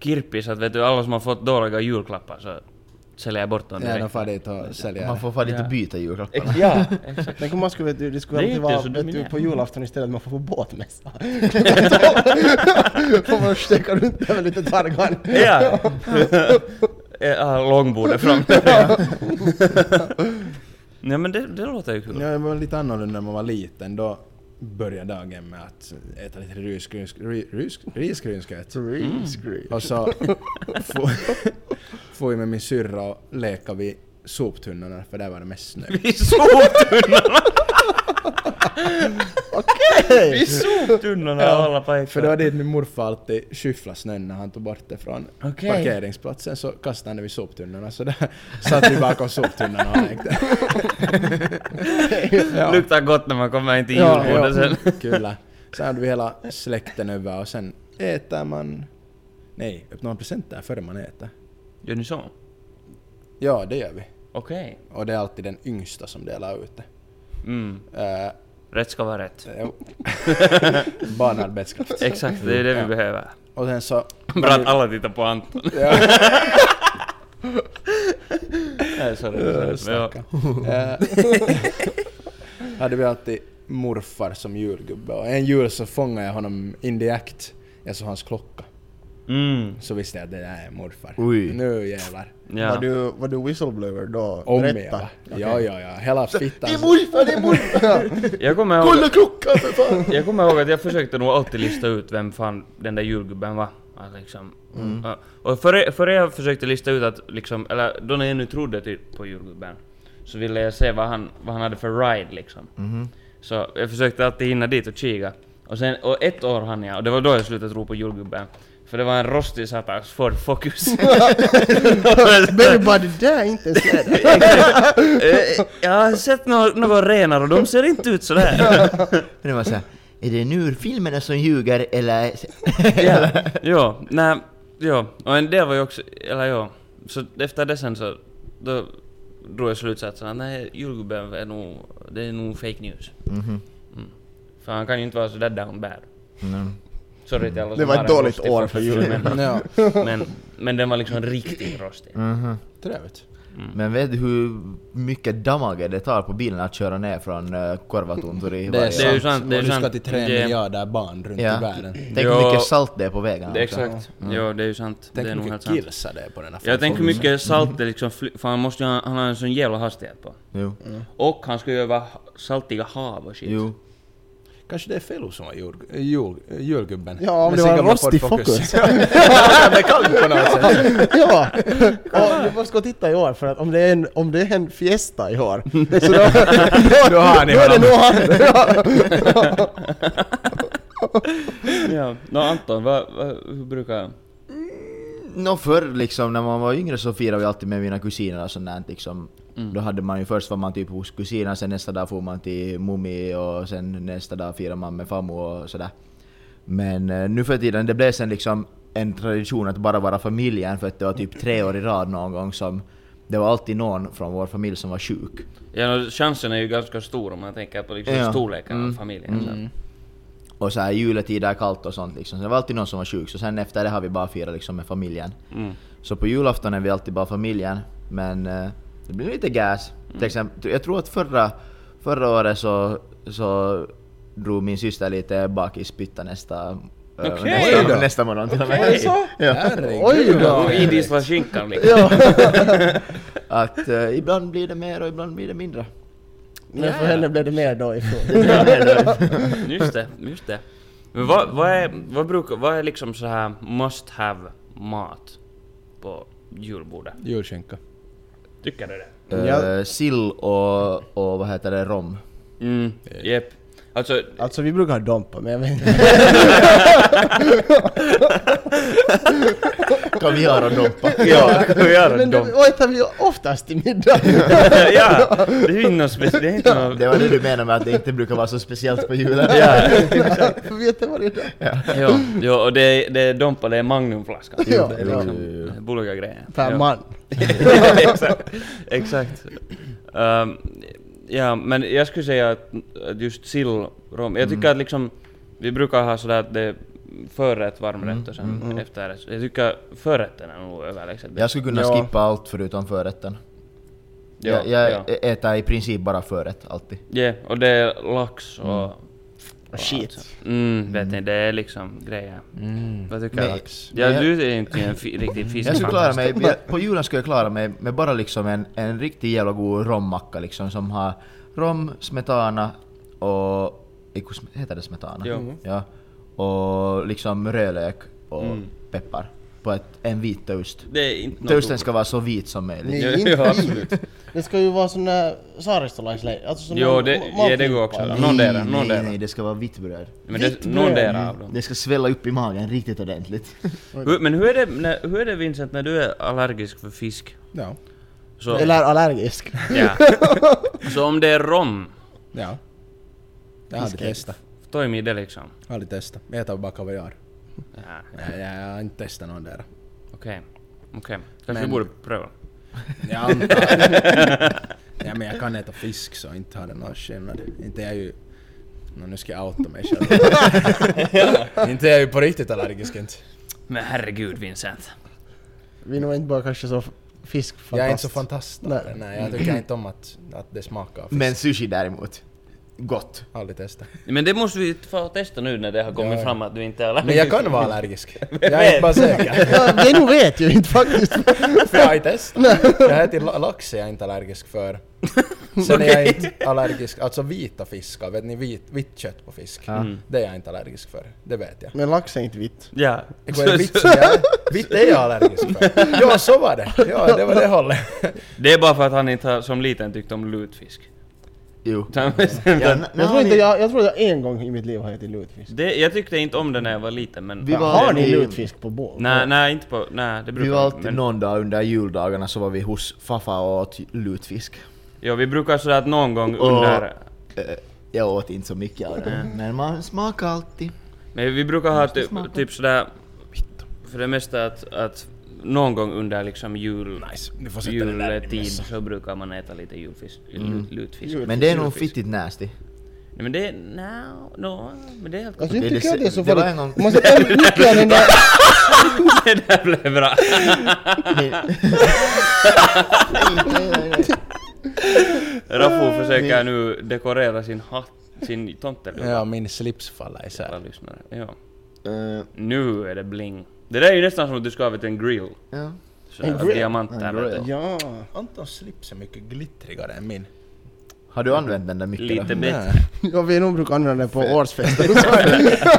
S4: kirpis, att vet du, alla som har fått dåliga julklappar så säljer jag bort dem
S2: Ja, de
S4: direkt.
S2: far dit och säljer.
S3: Man får fan inte
S4: Ja.
S3: byta julklapparna.
S5: Ja, exakt. Tänk om man skulle, vet du, det skulle
S4: Det är
S5: alltid
S4: inte
S5: vara
S4: så
S5: vet du,
S4: dominerande.
S5: på julafton istället, man får på båtmässa. får man stöka runt över lite targar.
S4: Ja! Jag har långbordet fram Nej men det, det låter ju kul.
S2: Ja, det var lite annorlunda när man var liten. Då började dagen med att äta lite risgrynsk- ri- rysk- risgrynsgröt. Och så får- får jag med min syrra och leka vid soptunnorna för där var det mest snö.
S4: Vi soptunnorna!
S5: Okej!
S4: Vi soptunnorna av alla
S2: För det var
S4: pajkar.
S2: dit min morfar alltid skyfflade snön när han tog bort det från
S4: Okej.
S2: parkeringsplatsen så kastade han det vid soptunnorna så där satt vi bakom soptunnorna och lekte. Ja.
S4: Luktar gott när man kommer in till
S2: Ja,
S4: julbordet sen.
S2: ja, Kyllä. Sen hade vi hela släkten över och sen äter man... Nej, öppnar man presenter före man äter?
S4: Gör ni så?
S2: Ja, det gör vi.
S4: Okej.
S2: Och det är alltid den yngsta som delar ut det.
S4: Mm.
S2: Eh,
S4: Rätt ska vara rätt.
S2: Jo. Barnarbetskraft.
S4: Exakt, det är det vi behöver.
S2: Och sen så...
S4: Bra att alla tittar på Anton.
S2: Ja,
S4: Nej, sorry. sorry.
S2: stackarn. Eh, Hade vi alltid morfar som julgubbe och en jul så fångade jag honom in the act. Jag såg hans klocka.
S4: Mm.
S2: Så visste jag att det där är morfar.
S3: Oj.
S2: Nu jävlar.
S4: Ja.
S5: Var, du, var du whistleblower då?
S2: Om jag
S5: Berätta.
S2: va? Ja, ja, ja. Hela
S3: Det
S2: fittan.
S3: är morfar, det är morfar!
S4: Jag kommer ihåg...
S3: Kolla klockan för fan!
S4: Jag kommer ihåg att jag försökte nog alltid lista ut vem fan den där julgubben var. Att liksom, ja. Och före, före jag försökte lista ut att liksom, eller då när jag nu trodde typ på julgubben. Så ville jag se vad han, vad han hade för ride liksom. Så jag försökte alltid hinna dit och kika. Och, sen, och ett år hann jag, och det var då jag slutade tro på julgubben. För det var en rostig satans Ford Focus.
S5: Men du bara, det där är inte ens läder.
S4: Eh, jag har sett några, några renar och de ser inte ut sådär.
S3: Men det var såhär, är det nu filmerna som ljuger eller?
S4: ja, ja, nej, ja. Och en del var ju också, eller ja. Så efter det sen så, då drog jag slutsatsen att nej, julgubben är nog, det är nog fake news. Mm.
S3: Mhm.
S4: För han kan ju inte vara sådär down bad.
S3: Mm.
S4: Sorry till alla
S5: Det
S4: som
S5: var
S4: har
S5: ett
S4: en
S5: dåligt
S4: rostig
S5: år för
S4: fotboll,
S5: julgubben.
S4: men-
S2: Ja,
S4: Men, men den var liksom
S5: Mm.
S4: riktigt rostig.
S3: Mhm.
S2: trevligt.
S3: Men vet du hur mycket damage det tar på bilen att köra ner från uh, Korvatuntori
S2: Det är
S4: Det är ju
S2: sant.
S4: sant, det är
S2: Och du ska
S4: sant.
S2: till tre
S4: Det-
S2: miljarder barn runt
S3: Ja.
S2: i världen.
S3: Tänk hur
S4: Ja.
S3: mycket salt det är på vägarna.
S4: Det är
S3: också.
S4: exakt. Ja, det är ju sant.
S2: Tänk
S4: det
S2: hur
S4: är nog helt
S2: mycket
S4: sant.
S2: kills det är på den här
S4: Jag tänker hur
S2: fotbollen.
S4: mycket salt det liksom, fly- för han måste ju ha, han har en sån jävla hastighet på.
S3: Jo.
S4: Och han ska ju över saltiga hav och shit.
S3: jo.
S2: Kanske det är Felo som var jul, jul, julgubben.
S5: Ja, om
S2: Med
S5: det
S2: sin
S5: var en
S2: gamla
S5: rostig
S2: Ford
S5: Focus.
S2: Ja, det kan på något sätt.
S5: ja! Och du måste gå och titta i år, för att om det är en, om det är en fiesta i år, så då, då,
S2: Då har ni
S5: då är det
S2: honom.
S5: nog han!
S4: Ja. Nå Anton, vad, vad, hur brukar...
S3: Nå förr liksom, när man var yngre så firade vi alltid med mina kusiner och sånt där, liksom. Då hade man ju först var man typ hos kusinen, sen nästa dag for man till mummi och sen nästa dag firade man med farmor och sådär. Men eh, nu för tiden, det blev sen liksom en tradition att bara vara familjen för att det var typ tre år i rad någon gång som det var alltid någon från vår familj som var sjuk.
S4: Ja, no, chansen är ju ganska stor om man tänker på liksom
S3: Ja.
S4: storleken
S3: Mm.
S4: av familjen. så.
S3: Och så här juletid är kallt och sånt liksom. Så det var alltid någon som var sjuk. Så sen efter det har vi bara firat liksom med familjen.
S4: Mm.
S3: Så på julafton är vi alltid bara familjen. Men eh, det blir lite gas. Till exempel, jag tror att förra, förra året så, så drog min syster lite bakispytta nästa, eh,
S4: Okej
S3: nästa,
S2: då.
S3: nästa månad till och
S4: Okej
S3: med.
S4: så.
S3: Ja.
S2: Herregud.
S5: Oj då!
S4: Och idissla skinkan liksom.
S3: Att eh, ibland blir det mer och ibland blir det mindre.
S5: Men för henne blev det mer då ifrån.
S4: Just det, just det. Men vad, vad, är, vad, brukar, vad är liksom så här must have mat på julbordet?
S2: Julskinka.
S4: Tycker du det?
S3: Eh,
S5: Ja.
S3: Sill och, och vad heter det, rom.
S4: Mm, jep. Alltså,
S5: Alltså vi brukar ha Dompa, men jag vet inte.
S3: Kaviar och dompa.
S4: ja, hur gör
S5: Men det och äter vi oftast till middag.
S4: ja, det är ju inte något speciellt, det är inte något...
S3: Det var det du menade med att det inte brukar vara så speciellt på julen.
S5: För vi äter varje dag.
S4: Ja, ja, och det är, det är Dompa, det är Magnumflaskan.
S5: Ja.
S4: Det är liksom bolaga grejer.
S5: Per
S4: Ja.
S5: man.
S4: exakt. exakt. Ehm, ja, men jag skulle säga att, att just sill, rom. Jag
S3: Mm.
S4: tycker att liksom, vi brukar ha sådär att det är förrätt, varmrätt
S3: Mm,
S4: och sen efterrätt. Jag tycker förrätten är nog liksom. överlägset
S3: Jag skulle kunna
S5: Ja.
S3: skippa allt förutom förrätten.
S4: Ja,
S3: jag jag
S4: ja.
S3: äter i princip bara förrätt, alltid.
S4: Ja, och det är lax och...
S3: Mm.
S4: och
S5: Oh, Shit.
S4: allt. Mm, vet ni, det är liksom grejer. Vad tycker du?
S3: Lax.
S4: Ja,
S3: Mm. Men-
S4: du är inte en fi- riktig fiskfantast.
S3: Jag skulle klara mig, jag- på julen skulle jag klara mig med bara liksom en, en riktigt jävla god rommacka liksom som har rom, smetana och... ei, kun sm- Heter det smetana?
S4: Jo.
S3: Ja. Och liksom rödlök och peppar. På ett, en vit toast.
S4: Mm. Det är inte något
S3: Toasten
S4: ord.
S3: ska vara så vit som möjligt.
S5: Nej,
S4: Ja,
S5: inte
S4: ja,
S5: vi.
S4: absolut.
S5: Det ska ju vara sån där saaristolaisle... Alltså sån
S4: Jo,
S5: där
S4: det-
S5: ma-
S4: ja, det
S5: matlimpa.
S4: går också. Någondera,
S3: nej,
S4: någondera.
S3: nej, det ska vara vitt bröd.
S4: Men det,
S5: Vitt bröd.
S4: någondera av dem.
S3: Det ska svälla upp i magen riktigt ordentligt.
S4: Hur, men hur är, det, när, hur är det Vincent när du är allergisk för fisk?
S2: Ja.
S4: Så,
S5: Eller allergisk.
S4: ja. så om det är rom,
S2: Ja. Jag har aldrig
S5: Fiskcake.
S2: testat.
S4: toimii det liksom?
S2: Jag har aldrig testat. Jag äter bara kaviar.
S4: Ja.
S2: Jag, jag har inte testat någon där.
S4: Okej. Okej. Kanske
S2: Men-
S4: du borde pröva?
S2: Jag antar det. ja, men jag kan äta fisk så inte har det någon skillnad. Inte jag ju... Nå, nu ska jag outa mig själv. inte jag är ju på riktigt allergisk inte.
S4: Men herregud Vincent.
S5: Vi är nog inte bara kanske så fiskfantast.
S2: Jag är inte så fantast.
S5: Nej.
S2: Nej. Nej, jag tycker inte om att, att det smakar av fisk.
S3: Men sushi däremot. gott.
S2: Aldrig testat.
S4: Men det måste vi få testa nu när det har kommit
S2: Ja.
S4: fram att du inte är allergisk.
S2: Men jag kan vara allergisk. Jag är
S4: vet?
S2: inte bara säker.
S5: Ja, det nu vet jag inte faktiskt.
S2: För jag har inte testat. Jag äter la- lax är jag inte allergisk för. Sen är jag inte allergisk, alltså vita fiskar, vet ni vit, vitt kött på fisk? Det är jag inte allergisk för, det vet jag.
S5: Men lax är inte vitt.
S4: Ja.
S2: Det går en vitt som jag- Vitt är jag allergisk för. Ja, så var det. Ja, det var det hållet.
S4: Det är bara för att han inte har, som liten tyckt om lutfisk.
S3: Jo.
S4: Så han bestämde
S3: Ja,
S4: att-
S3: n-
S5: Jag
S3: när
S5: tror, inte
S3: ni-
S5: jag, jag tror jag en gång i mitt liv har ätit lutfisk.
S4: det, jag tyckte inte om det när jag var liten men...
S3: Vi var-
S5: Har ni
S3: det-
S5: lutfisk på bål?
S4: Nej, nej, inte på... Nej, det brukar
S3: Vi var alltid
S4: men-
S3: någon dag under juldagarna så var vi hos Fafa och åt lutfisk.
S4: Ja, vi brukar sådär att någon gång
S3: Och-
S4: under...
S3: Eh, Jag åt inte så mycket av det, men man smakar alltid.
S4: Men vi brukar ha ty, typ sådär... För det mesta att, att någon gång under liksom jul...
S2: Nice, du får sätta den där i din
S4: Jultid
S2: mössa.
S4: så brukar man äta lite julfisk, lutfisk.
S5: Jul-
S4: Nej,
S3: Men det är nog
S4: Lutfisk.
S3: fittigt nasty.
S4: men det... No, no, men det är helt
S3: Okej,
S5: Alltså, inte
S3: det
S5: tycker jag
S3: ser-
S5: det är så
S3: det var
S5: farligt.
S3: en gång-
S5: Man ska ta mycket av den där...
S4: Det där blev bra. Raffu försöker nu dekorera sin hatt, sin tomteluva.
S2: Ja, min slips faller
S4: Alla
S2: isär.
S4: lyssnare. Ja.
S3: Eh,
S4: Nu är det bling. Det där är ju nästan som att du ska ha vet, en grill.
S3: ja.
S4: Sådär,
S5: En grill?
S4: Diamanter.
S3: En
S4: vet du.
S3: grill.
S5: Ja.
S2: Antons slips är mycket glittrigare än min.
S3: Har du använt den där mycket? då?
S4: Lite bättre.
S2: Nej.
S5: ja, vi nog brukar använda den på årsfester.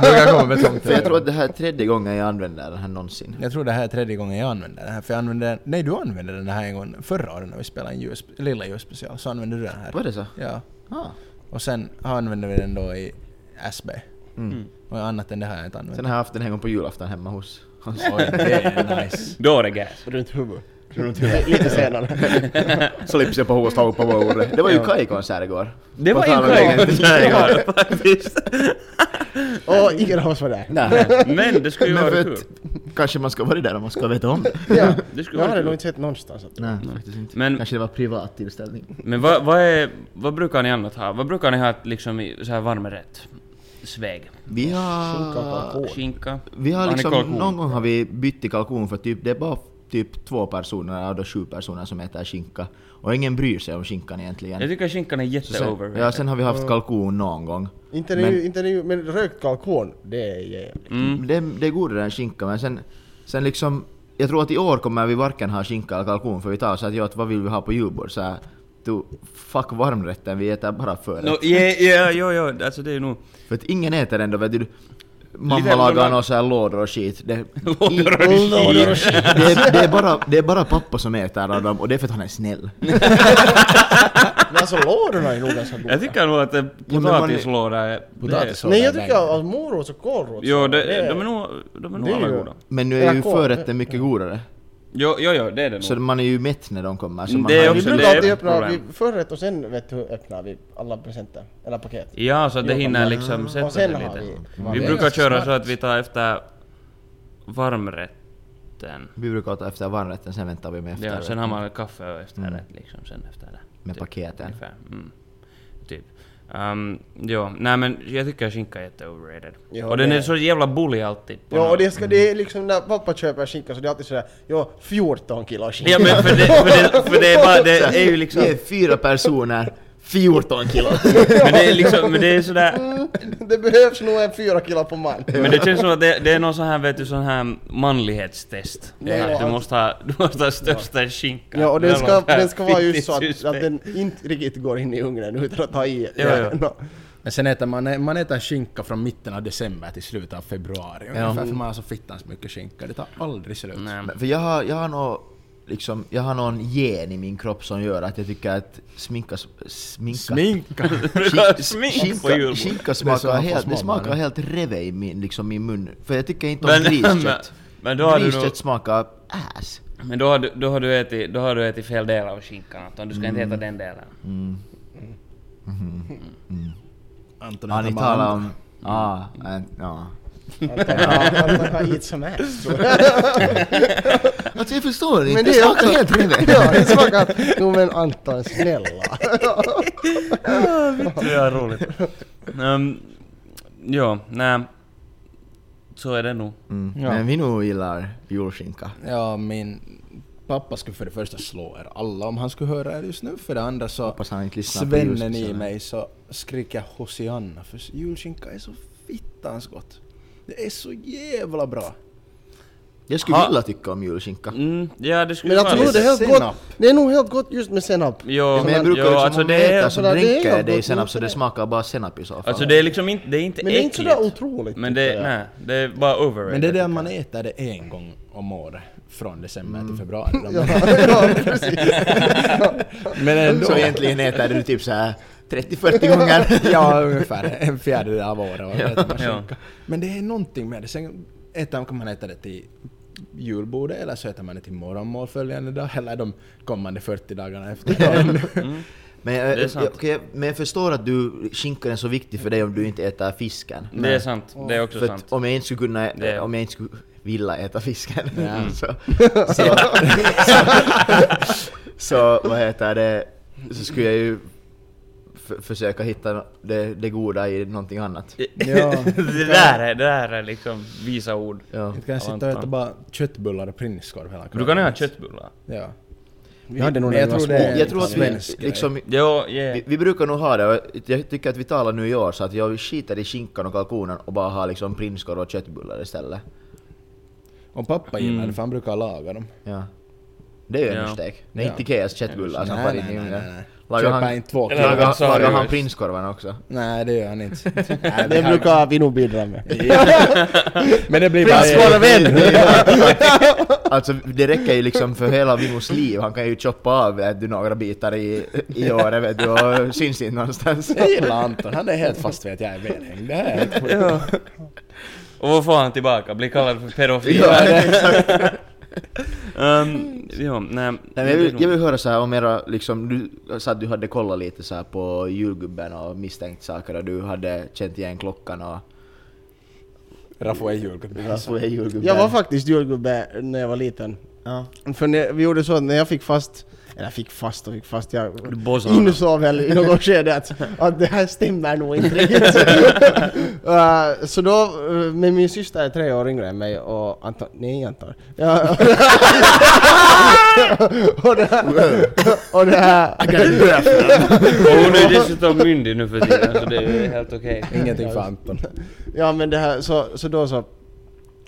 S2: Brukar komma betong
S3: För jag tror att det här är tredje gången jag använder den här någonsin.
S2: Jag tror det här är tredje gången jag använder den här, för jag använde nej du använde den här en gång förra året när vi spelade en US, lilla US-special, så använde du den här.
S3: Var det så?
S2: Ja.
S3: Ah.
S2: Och sen använde vi den då i SB. Och annat än det här har jag inte använt.
S3: Mm. Sen har jag haft den en gång på julafton hemma hos hans
S2: Oj, det är nice.
S4: Då är det gas.
S5: Runt huvudet. Runt huvudet. Lite senare.
S3: Slips jag på huvudet på bordet. Det var ju Kai-konsert igår.
S4: Det
S3: På
S4: var
S3: tal om
S4: en
S3: egen-
S4: grill. faktiskt.
S5: Och ingen av oss var där.
S3: Nej.
S4: Men det skulle ju
S3: Men
S4: vara
S3: för
S4: kul.
S3: att, kanske man ska vara där om man ska veta om det.
S5: Ja.
S4: Det skulle
S5: Jag
S4: vara
S5: hade nog
S4: kul.
S5: inte sett någonstans. att-
S3: Nej, faktiskt inte.
S4: Men-
S3: Kanske det var privat tillställning.
S4: Men vad, vad, är, vad brukar ni annat ha? Vad brukar ni ha liksom i så här varm rätt? Sveg?
S3: Vi
S5: Skinka och
S3: har...
S5: kalkon.
S4: Skinka?
S3: Vi har
S4: ni
S3: liksom,
S4: kalkon?
S3: någon gång har vi bytt till kalkon för typ, det är bara typ två personer av de sju personer som äter skinka. Och ingen bryr sig om skinkan
S4: Jag
S3: egentligen.
S4: tycker skinkan är
S3: Så sen,
S4: jätteover.
S3: ja, sen har vi haft kalkon någon gång.
S5: Inte det,
S3: Men-
S5: ju- inte det, ju- men rökt kalkon, det är jävligt.
S3: Det, det är godare än skinka men sen, sen liksom... Jag tror att i år kommer vi varken ha skinka eller kalkon för vi tar så att, ja, att vad vill vi ha på julbord? Så här, du, fuck varmrätten, vi äter bara förrätt.
S4: No, ja, ja, ja, ja, alltså det är nog...
S3: För att ingen äter ändå vet du. Mamma
S4: Lite
S3: lagar
S4: äldre-
S3: någon sån här lådor och skit. Det,
S4: Lådor och
S3: i-
S4: Lådor och
S3: det, är- det, är bara, det är bara pappa som äter av dem och det är för att han är snäll.
S5: Men alltså lådorna är nog ganska goda.
S4: Jag tycker nog att eh,
S3: men man-
S4: potatislåda är...
S2: Potatis
S5: Nej, jag tycker att morots och kålrots...
S4: Jo, det,
S5: det-
S4: de är nog, de är nog
S5: det är
S4: alla
S5: ju-
S4: goda.
S3: Men nu är ju
S5: Rakor.
S3: förrätten mycket godare.
S4: Jo, jo, jo, det är det nog.
S3: Så man är ju mätt när de kommer. Så man
S4: Mm, Det är
S3: har
S5: Vi
S4: också-
S3: ju,
S5: brukar
S4: är
S5: alltid
S4: ett
S5: öppna
S4: problem.
S5: vid förrätt och sen vet du, öppnar vi alla presenter, eller paket.
S4: Ja, så att det
S5: Jo,
S4: hinner
S5: men-
S4: liksom sätta
S5: Och sen
S4: sig
S5: har
S4: lite.
S5: vi-
S4: Vi
S2: Det är
S4: brukar
S2: ganska
S4: köra
S2: smart.
S4: så att vi tar efter varmrätten.
S3: vi brukar ta efter varmrätten, sen väntar vi med efter.
S4: Ja, sen har man kaffe och efterrätt liksom sen efter det.
S3: Med paketen.
S4: ungefär. Mm. Typ. Um, jo, nej men jag tycker skinka är jätteoverrated.
S5: Ja,
S4: och den
S5: det-
S4: är så jävla bullig alltid. på
S5: Ja,
S4: något.
S5: och det, ska, det är liksom när pappa köper skinka så det är alltid sådär, ja, 14 kilo skinka.
S4: Ja men för det, för det, för det, är, bara, det är ju liksom...
S3: Vi är fyra personer, 14 kilo.
S4: Men det är liksom, men det är sådär...
S5: Mm. det behövs nog en 4 kilo på man.
S4: Men det känns som att det, det är någon sån här, vet du, sån här manlighetstest.
S5: Ja,
S4: Att du,
S5: alltså-
S4: måste ha, du måste ha största skinkan.
S5: Ja, och den
S4: Det
S5: ska,
S4: var så här
S5: den ska vara just
S4: fittigt
S5: så att,
S4: system.
S5: att den inte riktigt går in i ugnen utan att ta i.
S4: Ja, ja.
S5: No.
S2: Men sen äter man, man äter skinka från mitten av december till slutet av februari ungefär, för man har så fittans mycket skinka. Det tar aldrig slut.
S4: Nej.
S3: Men För jag har, jag har nå liksom, jag har någon gen i min kropp som gör att jag tycker att sminka... Sminka?
S2: Sminka!
S4: Skinka- Smink på
S3: Skinka,
S4: julbord.
S3: skinka
S2: Det är så
S3: smakar,
S2: man får
S3: helt, det
S2: småbarn,
S3: smakar
S2: ja.
S3: helt reve i min, liksom, min mun. För jag tycker inte om
S4: Men-
S3: griskött.
S4: men då har du
S3: griskött
S4: nog-
S3: smakar ass.
S4: Men då har, du, då, har du ätit, då har du ätit fel del av skinkan Anton. Du ska inte
S5: Mm.
S4: äta den delen.
S2: Anton
S3: Har ni
S2: äter bara
S3: talat
S2: andra.
S3: om... Ah, en, ja.
S5: Anton har it som helst tror jag.
S3: Alltså jag förstår inte,
S5: Men
S3: men
S5: det
S3: det,
S5: är
S3: smakar
S5: också-
S3: helt reve.
S5: Ja, det smakar... Jo men Anton snälla.
S4: Det är roligt. um, ja, nej. Så är det nog.
S3: Mm.
S2: Ja.
S3: Men vi nog gillar julskinka.
S2: Ja, min pappa skulle för det första slå er alla om han skulle höra er just nu, för det andra så
S3: Hoppas han inte lyssnar på
S2: svennen i
S3: julskinkan.
S2: mig så skriker Hosianna, för julskinka är så fittans gott. Det är så jävla bra.
S3: Jag skulle
S4: Ha.
S3: vilja tycka om julskinka.
S4: Mm, ja, det skulle
S5: Men jag
S4: vara
S5: tror
S4: lite-
S5: det är helt
S2: Senap.
S5: gott. Det är nog helt gott just med senap.
S4: Jo,
S3: Men jag brukar
S4: jo,
S3: liksom
S4: alltså
S3: om
S4: det
S3: jag äter
S4: är...
S3: så
S5: Men det är
S3: dricker
S5: ju
S3: jag det i
S5: gott,
S3: senap
S5: inte
S3: så det
S5: det.
S3: smakar bara senap i så fall.
S4: Alltså det är liksom inte, det är inte
S5: Men det är inte
S4: äckligt.
S5: sådär otroligt.
S4: men det,
S5: tycker jag.
S4: nej, det är bara overrated.
S2: Men det är det att man äter det en gång om året, från december
S3: Mm.
S2: till februari.
S5: Ja,
S2: Men-
S5: ja, precis.
S2: Men ändå.
S3: Så egentligen äter du typ så här 30-40 gånger.
S2: ja, ungefär en fjärdedel av året. och äter man
S4: Ja.
S2: skinka. Men det är någonting med det. Sen äter, kan man äta det till julbordet eller så äter man det till morgonmål följande dag eller de kommande 40 dagarna efter. Mm.
S4: Mm.
S3: Men jag,
S4: Det är
S3: jag,
S4: sant.
S3: okej, men jag förstår att du, skinkan är så viktig för dig om du inte äter fisken.
S4: Mm. Det är sant, det är också
S3: För
S4: sant.
S3: att om jag inte skulle kunna,
S4: Det är-
S3: om jag inte skulle vilja äta fisken så, så, så, så, vad heter det, så skulle jag ju f- försöka hitta det, det goda i någonting annat.
S2: Ja.
S4: det, där är, det där är liksom visa ord.
S3: Ja.
S2: Inte kan jag sitta och äta bara köttbullar och prinskorv hela
S4: Du kan ju ha köttbullar.
S2: Ja.
S5: Vi hade nog
S2: Men jag
S5: när vi
S2: tror
S5: var små.
S2: det är-
S3: Jag tror att vi,
S2: svensk grej.
S3: liksom,
S4: Jo,
S3: vi,
S4: yeah.
S3: vi brukar nog ha det, och jag tycker att vi talar nu i år så att jag skiter i skinkan och kalkonen och bara har liksom prinskorv och köttbullar istället.
S2: Om pappa gillar
S4: Mm.
S2: det, för han brukar laga dem.
S3: Ja. Det är ju en
S4: Ja.
S3: mistake. Det är
S2: Ja.
S3: inte Ikeas köttbullar som far Alltså, in i ugnen. Lagar
S2: Köper
S3: han-
S2: inte två
S4: Eller-
S2: killar.
S4: Laga-
S3: Lagar
S4: sorry,
S3: lagar han
S4: guys.
S3: prinskorvarna också?
S2: Nej, det gör han inte. Nej,
S5: Det
S2: har-
S5: brukar vi nog bidra med.
S2: Men det blir bara...
S5: Prinskorven!
S3: Alltså det räcker ju liksom för hela Vimos liv, han kan ju choppa av vet du, några bitar i, i året vet du, och syns inte någonstans.
S2: Jag gillar Anton, han är helt fast vid att jag är medhängd. Det här är helt sjukt.
S4: Och vad får han tillbaka? Blir kallad för pedofil?
S3: Ja,
S4: Ehm, jo, nej.
S3: Nej, men jag, vill, jag vill höra så här om era, liksom, du sa att du hade kollat lite så här på julgubben och misstänkt saker och du hade känt igen klockan och...
S2: Raffo är julgubbe.
S3: Vad får jag julgubben?
S5: Jag var faktiskt julgubbe när jag var liten.
S3: Ja.
S5: För när, vi gjorde så att när jag fick fast, eller jag fick fast och fick fast, jag
S4: Du bossade honom.
S5: insåg väl i något skede att, att det här stämmer nog inte riktigt. Eh, så då, eh, men min syster är tre år yngre än mig och Anton, nej Anton. Ja, och det här, och det här
S4: Och hon är dessutom myndig nu för tiden, så det är ju helt okej.
S2: Ingenting för Anton.
S5: Ja men det här, så, så då så.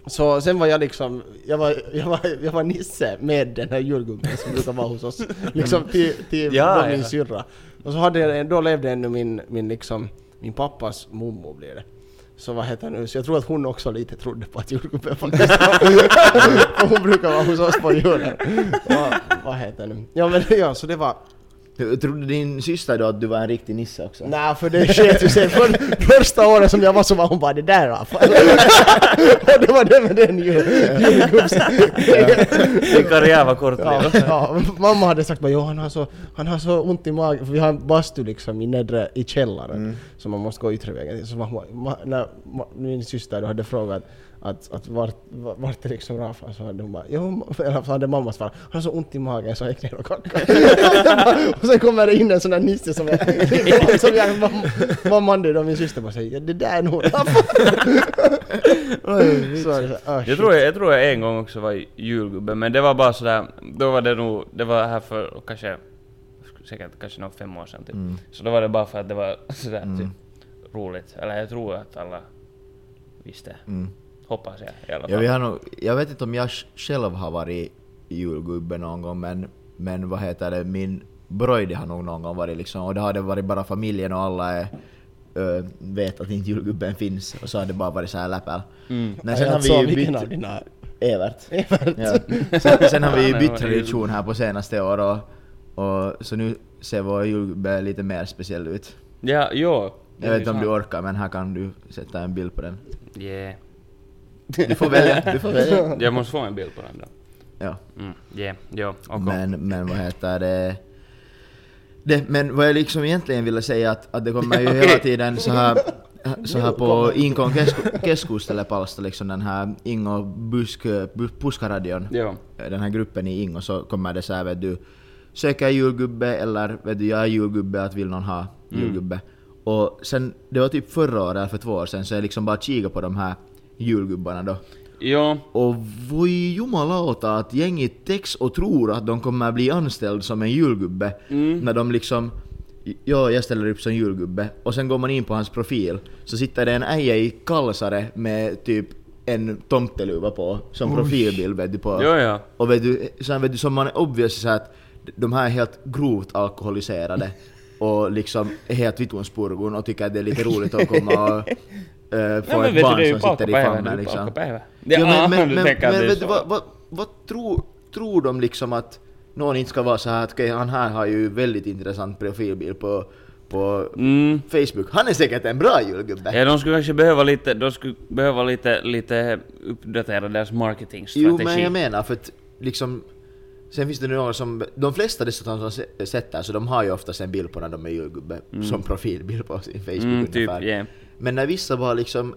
S5: Så sen var jag liksom, jag var, jag var, jag var Nisse med den här julgubben som brukar vara hos oss. Liksom till, till
S4: Mm. Ja,
S5: då min
S4: ja.
S5: syrra. Och så hade jag, då levde ännu min, min liksom, min pappas mormor blev det. Så vad heter det nu, så jag tror att hon också lite trodde på att julgubben faktiskt var- Och Hon brukar vara hos oss på julen. Vad, vad heter det nu? Ja men ja, så det var,
S3: Du- Trodde din syster då att du var en riktig nisse också?
S5: Nej, för det sket ju sig. För, första året som jag var så var hon bara det där Rafael. Och det var det med den ju- julgubbs...
S4: Din karriär var kort
S5: Ja,
S4: livs.
S5: ja, mamma hade sagt bara "Jo, han har så, han har så ont i magen, för vi har en bastu liksom i nedre, i källaren,
S4: Mm.
S5: så man måste gå yttre vägen. Så mamma, ma, när ma, min syster då hade frågat att, att vart, va- vart är liksom Rafa? Så hade hon bara, jo, ma- eller så hade mamma svarat, han har så ont i magen så jag gick ner och kackade. och sen kommer det in en sån där nisse som jag, som jag mamma, mamma hade då min syster bara säger, "Ja, det där är nog Rafa. så, är det så, ah,
S4: Jag tror jag, jag tror jag en gång också var julgubbe, men det var bara sådär, då var det nog, det var här för kanske, säkert kanske någon fem år sedan typ.
S3: Mm.
S4: Så då var det bara för att det var sådär typ roligt, eller jag tror att alla visste. Hoppas jag i alla
S3: Mm. Ja,
S4: fall.
S3: vi har nog, jag vet inte om jag sj- själv har varit julgubbe någon gång men, men vad heter det, min broider har nog någon gång varit liksom och det har det varit bara familjen och alla är, ö, vet att inte julgubben finns och så har det bara varit så här läppel. Men Mm. sen har vi ju
S5: vilken
S3: bytt...
S5: av dina
S3: Evert.
S5: Evert.
S3: Ja. Sen, sen har vi ju
S4: Fan, det var
S3: bytt tradition här på senaste år och, och så nu ser vår julgubbe lite mer speciell ut.
S4: Ja, jo.
S3: Jag vet inte om du orkar men här kan du sätta en bild på den.
S4: Yeah.
S3: Du får välja. Du får välja.
S4: Jag måste få en bild på den då.
S3: Ja.
S4: Mm, yeah, jo, okej.
S3: Men, men vad heter det? det? Men vad jag liksom egentligen ville säga att, att det kommer ju hela tiden så här, så här på Inkon kesku- keskustelepalsta, liksom den här Ingo Busk, Bu- Puskaradion,
S4: Jo.
S3: den här gruppen i Ingo, så kommer det så här vet du, söker julgubbe eller vet du, jag är julgubbe, att vill någon ha julgubbe. Och sen, det var typ förra året, eller för två år sedan, så jag liksom bara kikade på de här julgubbarna då.
S4: Jo,
S3: Och voi jumala åta att gänget täcks och tror att de kommer bli anställd som en julgubbe.
S4: Mm.
S3: När de liksom... Ja, jag ställer upp som julgubbe. Och sen går man in på hans profil. Så sitter det en äja i kalsare med typ en tomteluva på som profilbild vet du på.
S4: jo, jo.
S3: Och vet du, sen vet du som man är obvious så att de här är helt grovt alkoholiserade och liksom är helt vittonspurgun och tycker att det är lite roligt att komma och eh, få
S4: Nej
S3: ett
S4: men vet du, det är
S3: barn
S4: ju
S3: som sitter i
S4: palkapäivä, det
S3: famnen
S4: är ju
S3: liksom.
S4: palkapäivä.
S3: Ja,
S4: Ja,
S3: men, men,
S4: du
S3: men,
S4: tänker att
S3: men
S4: det är
S3: vet du, vad,
S4: så.
S3: vad, vad tror, tror de liksom att någon inte ska vara så här att okej, han här har ju väldigt intressant profilbild på, på
S4: Mm.
S3: Facebook. Han är säkert en bra julgubbe.
S4: Ja, de skulle kanske behöva lite, de skulle behöva lite, lite uppdatera deras
S3: Jo,
S4: marketingstrategi.
S3: men jag menar för att liksom... Sen finns det ju några som... De flesta dessutom som se- sätter, så de har ju oftast en bild på när de är julgubbe som profilbild på sin Facebook
S4: Mm, typ,
S3: ungefär.
S4: yeah.
S3: Men när vissa bara liksom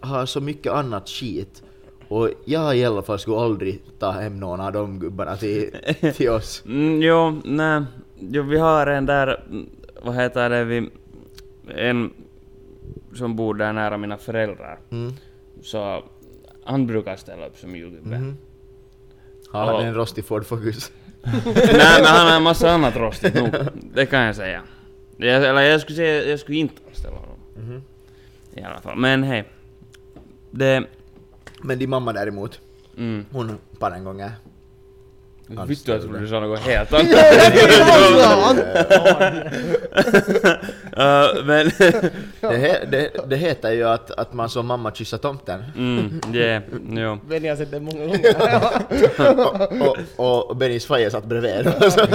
S3: har så mycket annat skit och jag i alla fall skulle aldrig ta hem någon av de gubbarna till, till oss.
S4: Mm, jo, nej. Jo, vi har en där, mm, vad heter det, vi, en som bor där nära mina föräldrar.
S3: Mm.
S4: Så han brukar ställa upp som julgubbe.
S3: Mm. Har han
S4: Ja.
S3: en rostig Ford Focus?
S4: Nej men han har en massa annat rostigt nog, det kan jag säga. Jag, eller jag skulle säga, jag skulle inte ställa honom.
S3: Mm.
S4: I alla fall, men hej. Det...
S3: Men din mamma däremot,
S4: Mm.
S3: hon par en eh. gånger.
S4: Vet du att
S3: Anställde.
S4: du sa något helt annat? Eh, men...
S3: Det, he, det, det heter ju att, att man som mamma kysser tomten.
S4: Mm, yeah, jo.
S5: Men jag har sett det många gånger.
S3: och, och, och Bennys fajer satt bredvid. Alltså.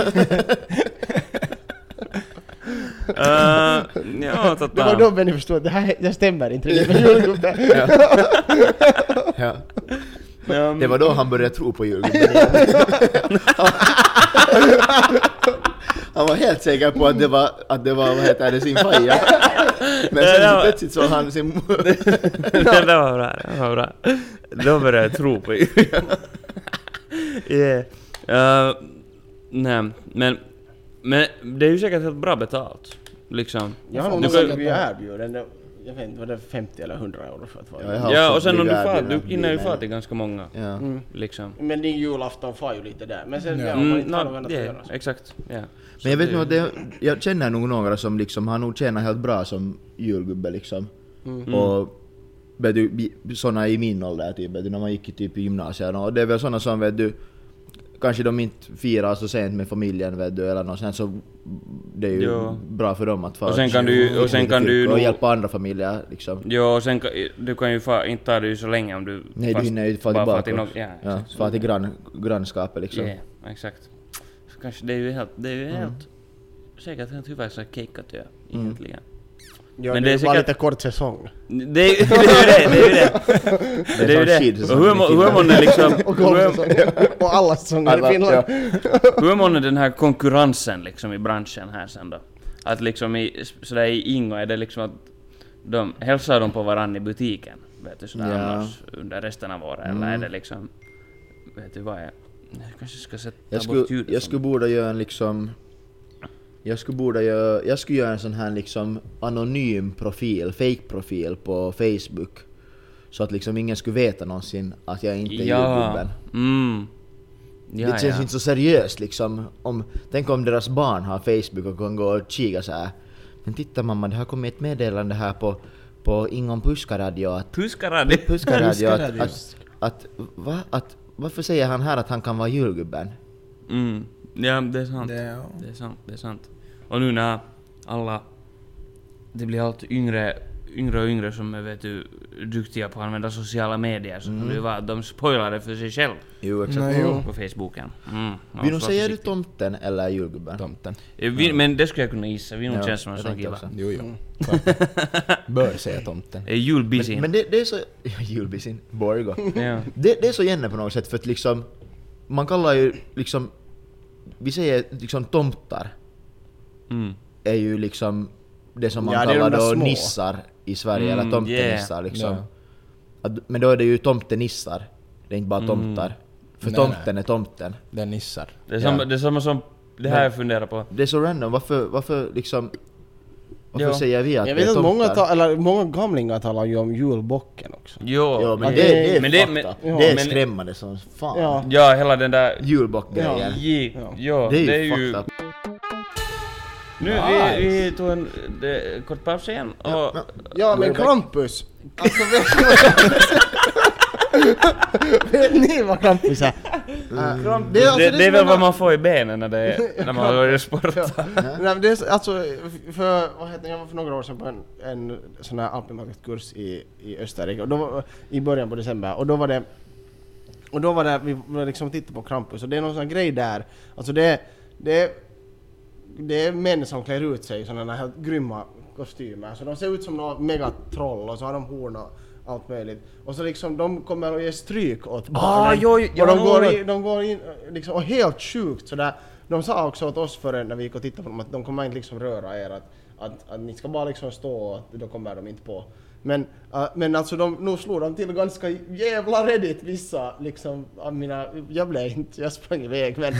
S4: Uh, ja,
S5: Det var då
S4: tota...
S5: Benny förstod att det här det stämmer inte riktigt med julgubben.
S3: ja.
S4: Um,
S3: Det var då han började tro på julgubben igen. Han var helt säker på att det var, att det var vad heter det, sin faja. Men sen så plötsligt såg han sin mor.
S4: det var bra, det var bra. Då började jag tro på yeah. Eh, Nej, men... Men det är ju säkert helt bra betalt. Liksom.
S5: Jag har nog
S4: Du
S5: någon
S4: kan-
S5: gång blivit erbjuden, det- jag vet inte, var det 50 eller 100 euro för att vara
S3: Ja, ja.
S5: med?
S4: Ja, och sen om du
S3: blivit
S4: far,
S3: erbjuden
S4: du
S3: att bli
S4: hinner ju
S3: med.
S4: far till ganska många.
S3: Ja.
S4: Liksom.
S5: Men din julafton far ju lite där, men sen ja, om Mm. man
S4: Mm,
S5: inte har något
S4: no,
S5: annat att
S4: yeah,
S5: göra. så-
S4: exakt. Yeah.
S3: Men jag vet nog att det, jag känner nog några som liksom har nog tjänat helt bra som julgubbe liksom.
S4: Mm.
S3: Och vet du, vi- såna i min ålder typ, vet du, när man gick i typ i gymnasiet. Och det är väl såna som vet du, kanske de inte firar så sent med familjen vet du, eller något sånt så det är ju
S4: Ja.
S3: bra för dem att få
S4: Och sen kan du- och sen kan du
S3: och
S4: nog-
S3: hjälpa andra familjer liksom.
S4: Jo, och sen ka- du kan ju fara, inte tar du ju så länge om du...
S3: Nej,
S4: fast-
S3: du hinner ju få
S4: bara
S3: tillbaka.
S4: far till något- Ja,
S3: ja,
S4: exakt.
S3: fara till grann, grannskapet liksom.
S4: Yeah, exakt. Så kanske det är ju helt, det är ju
S3: Mm.
S4: helt, säkert helt hyvässä keikkatyö egentligen.
S5: Ja,
S4: Men
S5: det
S4: det
S5: är
S4: är
S5: bara
S4: säkert-
S5: lite kort säsong.
S4: Det, är- det är ju det, det är ju det.
S3: är
S4: Det är ju
S3: som
S4: det.
S3: skidsäsong
S4: Och hur,
S3: i
S4: må- hur
S3: Finland.
S4: månne liksom,
S5: Och
S4: hur,
S5: golfsäsong. Och alla säsonger
S3: Alla-
S5: i Finland.
S4: hur månne den här konkurrensen liksom i branschen här sen då? Att liksom i, sådär i Ingo är det liksom att de hälsar de på varandra i butiken? Vet du sådär
S3: Ja. Mm.
S4: annars under resten av året eller är det liksom... Vet du vad jag... Jag kanske ska sätta
S3: Jag
S4: bort
S3: skulle,
S4: ljudet
S3: jag
S4: från-
S3: skulle borde göra en liksom... Jag skulle borde göra, jag skulle göra en sån här liksom anonym profil, fake profil på Facebook. Så att liksom ingen skulle veta någonsin att jag inte är julgubben.
S4: Mm. Ja,
S3: det känns
S4: ja.
S3: inte så seriöst liksom. Om, tänk om deras barn har Facebook och kan gå och kika så här. Men titta mamma, det har kommit ett meddelande här på, på Ingon Puskaradio att...
S4: Puskaradio.
S3: Puskaradio att,
S2: Puskaradio.
S3: att, att, va, att... Varför säger han här att han kan vara julgubben?
S4: Mm. Ja, det är sant.
S2: Det
S4: Det,
S2: är- ja.
S4: är sant, det är sant. Och nu när alla... Det blir allt yngre, yngre och yngre som är vet du, duktiga på att använda sociala medier så kan det ju vara att de spoilar det för sig själv
S3: Mm. Jo, exakt.
S2: Nej, jo.
S4: på Facebooken. Mm. man
S3: Vill
S4: måste
S3: du
S4: vara
S3: säga du
S4: försiktig.
S3: tomten eller julgubben?
S2: Tomten.
S4: Eh, vi, Men det skulle jag kunna gissa, vi är nog
S3: Ja,
S4: känns som en
S3: jag
S4: sån
S3: tänkte
S4: kille.
S3: också.
S2: Jo,
S5: Mm.
S2: jo. Bör säga tomten.
S4: Eh, Julbisin.
S3: Men det, det är så... Julbisin. Borgo.
S4: Ja.
S3: det, det är så Jenne på något sätt för att liksom... Man kallar ju liksom... Vi säger liksom tomtar
S4: Mm.
S3: är ju liksom det som man
S5: Ja, det är de
S3: kallar
S5: där
S3: då
S5: små.
S3: nissar i Sverige,
S4: Mm,
S3: eller tomtenissar
S4: yeah.
S3: liksom.
S2: Ja.
S3: Att, men då är det ju tomtenissar. Det är inte bara
S5: Mm.
S3: tomtar. För
S2: Nej,
S3: tomten är tomten.
S2: Den nissar.
S4: Det, är samma,
S3: Ja.
S4: det är samma som... Det här jag funderar på.
S3: Det är så random, varför, varför liksom... Varför
S4: Ja.
S3: säger vi att
S5: Jag
S3: det
S5: vet
S3: är
S5: att många,
S3: tomtar?
S5: ta, eller, många gamlingar talar ju om julbocken också.
S4: Jo.
S3: Ja men
S5: Ja,
S3: det, det är
S4: men det-
S3: fakta.
S4: men-
S5: ja,
S3: det är
S4: men-
S3: skrämmande som fan.
S5: Ja.
S4: Ja, hela den där...
S3: Julbockgrejen.
S4: J.
S5: Ja.
S4: Ja,
S3: Det är ju, fucked alltså. up.
S4: Nu,
S2: Nice.
S4: vi, vi tog en de, kort paus igen och...
S3: men-
S5: Ja men Krampus! Alltså vet ni- Vet ni vad Krampus är? Kramp- är
S4: Det,
S5: alltså
S4: det är
S5: som
S4: väl
S5: en-
S4: vad man får i benen när, det, är- när man börjar sporta?
S5: Nej, men det är så- alltså, för, vad heter det, jag var för några år sedan på en, en sån här alpinmarketkurs i, i Österrike, och då, var- i början på december, och då var det och då var det, vi var liksom tittade på Krampus, och det är någon sån här grej där, alltså det, det, det är män som klär ut sig i sådana här grymma kostymer, så de ser ut som några megatroll och så har de horn och allt möjligt. Och så liksom, de kommer och ger stryk åt barnen.
S4: Ah, jo, jo,
S5: och de
S4: jo,
S5: går,
S4: jo.
S5: i, de går in eh, liksom, och helt sjukt sådär. De sa också åt oss före när vi gick och tittade på dem att de kommer inte liksom röra er, att, att, att ni ska bara liksom stå och att då kommer de inte på. Men, eh, men alltså de, nog slog de till ganska jävla redigt vissa liksom, av mina, jag blev inte, jag sprang iväg men,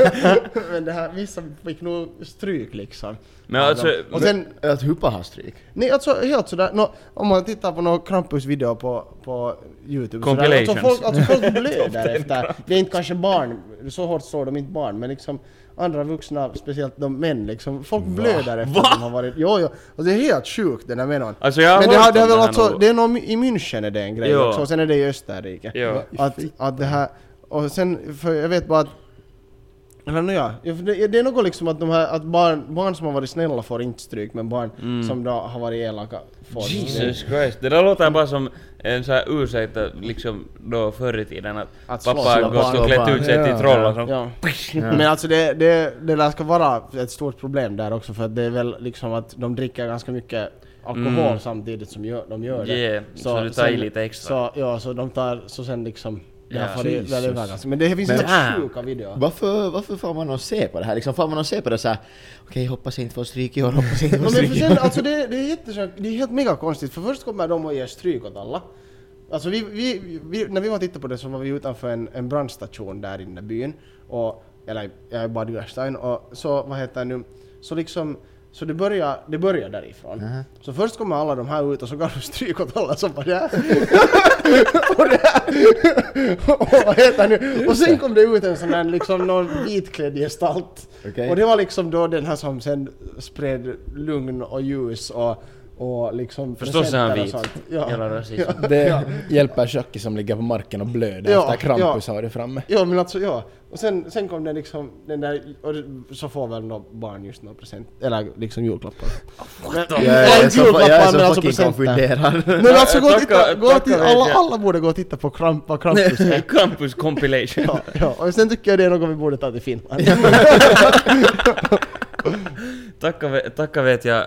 S5: men det här, vissa fick nog stryk liksom.
S4: Men
S5: av
S4: alltså-
S5: dem. och sen,
S3: Att huppa har stryk.
S5: Nej alltså helt sådär, nå om man tittar på några Krampus-videor på, på Youtube sådär, alltså
S4: Compilations.
S5: folk, alltså folk blöder efter, det är inte kanske barn, så hårt slår de inte barn, men liksom andra vuxna, speciellt de män liksom, folk blöder efter att de har varit... Jo, jo, alltså det är helt sjukt den där menon.
S4: Alltså, jag har
S5: men det,
S4: hört
S5: har, det, har
S4: om
S5: väl
S4: det här
S5: alltså,
S4: nog.
S5: det är någon, i München är det en grej
S4: Jo.
S5: också, och sen är det i Österrike.
S4: Ja.
S5: Att, att det här, och sen, för jag vet bara att eller nåja, ja, för det, det är något liksom att, de här, att barn, barn som har varit snälla får inte stryk men barn som då har varit elaka får stryk.
S4: Mm. Jesus Christ. Det där låter bara som en sån här ursäkt att liksom då förr i tiden att,
S5: Att slå
S4: pappa
S5: sina
S4: har gått
S3: barn.
S4: och klätt ut sig till
S2: Ja.
S4: troll och så.
S5: Ja. Men alltså det, det, det där ska vara ett stort problem där också för att det är väl liksom att de dricker ganska mycket alkohol samtidigt som gör, de gör det.
S4: Mm. Yeah, så du tar i lite extra.
S5: Så, ja, så de tar, så sen liksom... Det här
S4: Ja.
S5: får det väl
S3: Jesus.
S5: över ganska. Men det finns
S3: Men-
S5: helt sjuka videor.
S3: Varför, varför får man och se på det här? Liksom, får man och se på det såhär Okej, hoppas jag inte får stryk i år, hoppas jag inte får
S5: Ja, men för
S3: stryk i
S5: sen,
S3: år.
S5: alltså det, det, är jätteskönt, det är helt mega konstigt för först kommer de och ger stryk åt alla. Alltså vi, vi, vi, när vi var och tittade på det så var vi utanför en, en brandstation där inne i byn, och, eller jag är Bad Gastein, och så vad heter det nu, så liksom så det börjar, det börjar därifrån. Så först kommer alla de här ut och så gav de stryk åt alla som var där. och det och vad heter det nu? Och sen kom det ut en sån här liksom någon vitklädd gestalt.
S3: Okej.
S5: Och det var liksom då den här som sen spred lugn och ljus och, och liksom
S4: Förstås är han
S5: presenter och
S4: vit.
S5: sånt.
S4: Jävla
S5: Ja.
S4: rasism.
S2: Det hjälper Chucky som ligger på marken och blöder
S5: Ja,
S2: efter Krampus har
S5: ja.
S2: varit framme.
S5: ja men alltså ja. Och sen, sen kom det liksom den där, och det- så får väl några barn just några present, eller liksom julklappar. Men,
S3: Jag är så, jag är så fucking
S5: alltså presenter.
S3: konfunderad.
S5: Men alltså gå och
S4: Tacka-
S5: titta, gå och
S4: tacka
S5: titta,
S4: vet
S5: alla,
S4: jag.
S5: alla borde gå och titta på Kramp, vad Krampus är.
S4: Campus compilation.
S5: Ja, ja, och sen tycker jag det är något vi borde ta till Finland.
S4: Tacka, ve- tacka vet jag...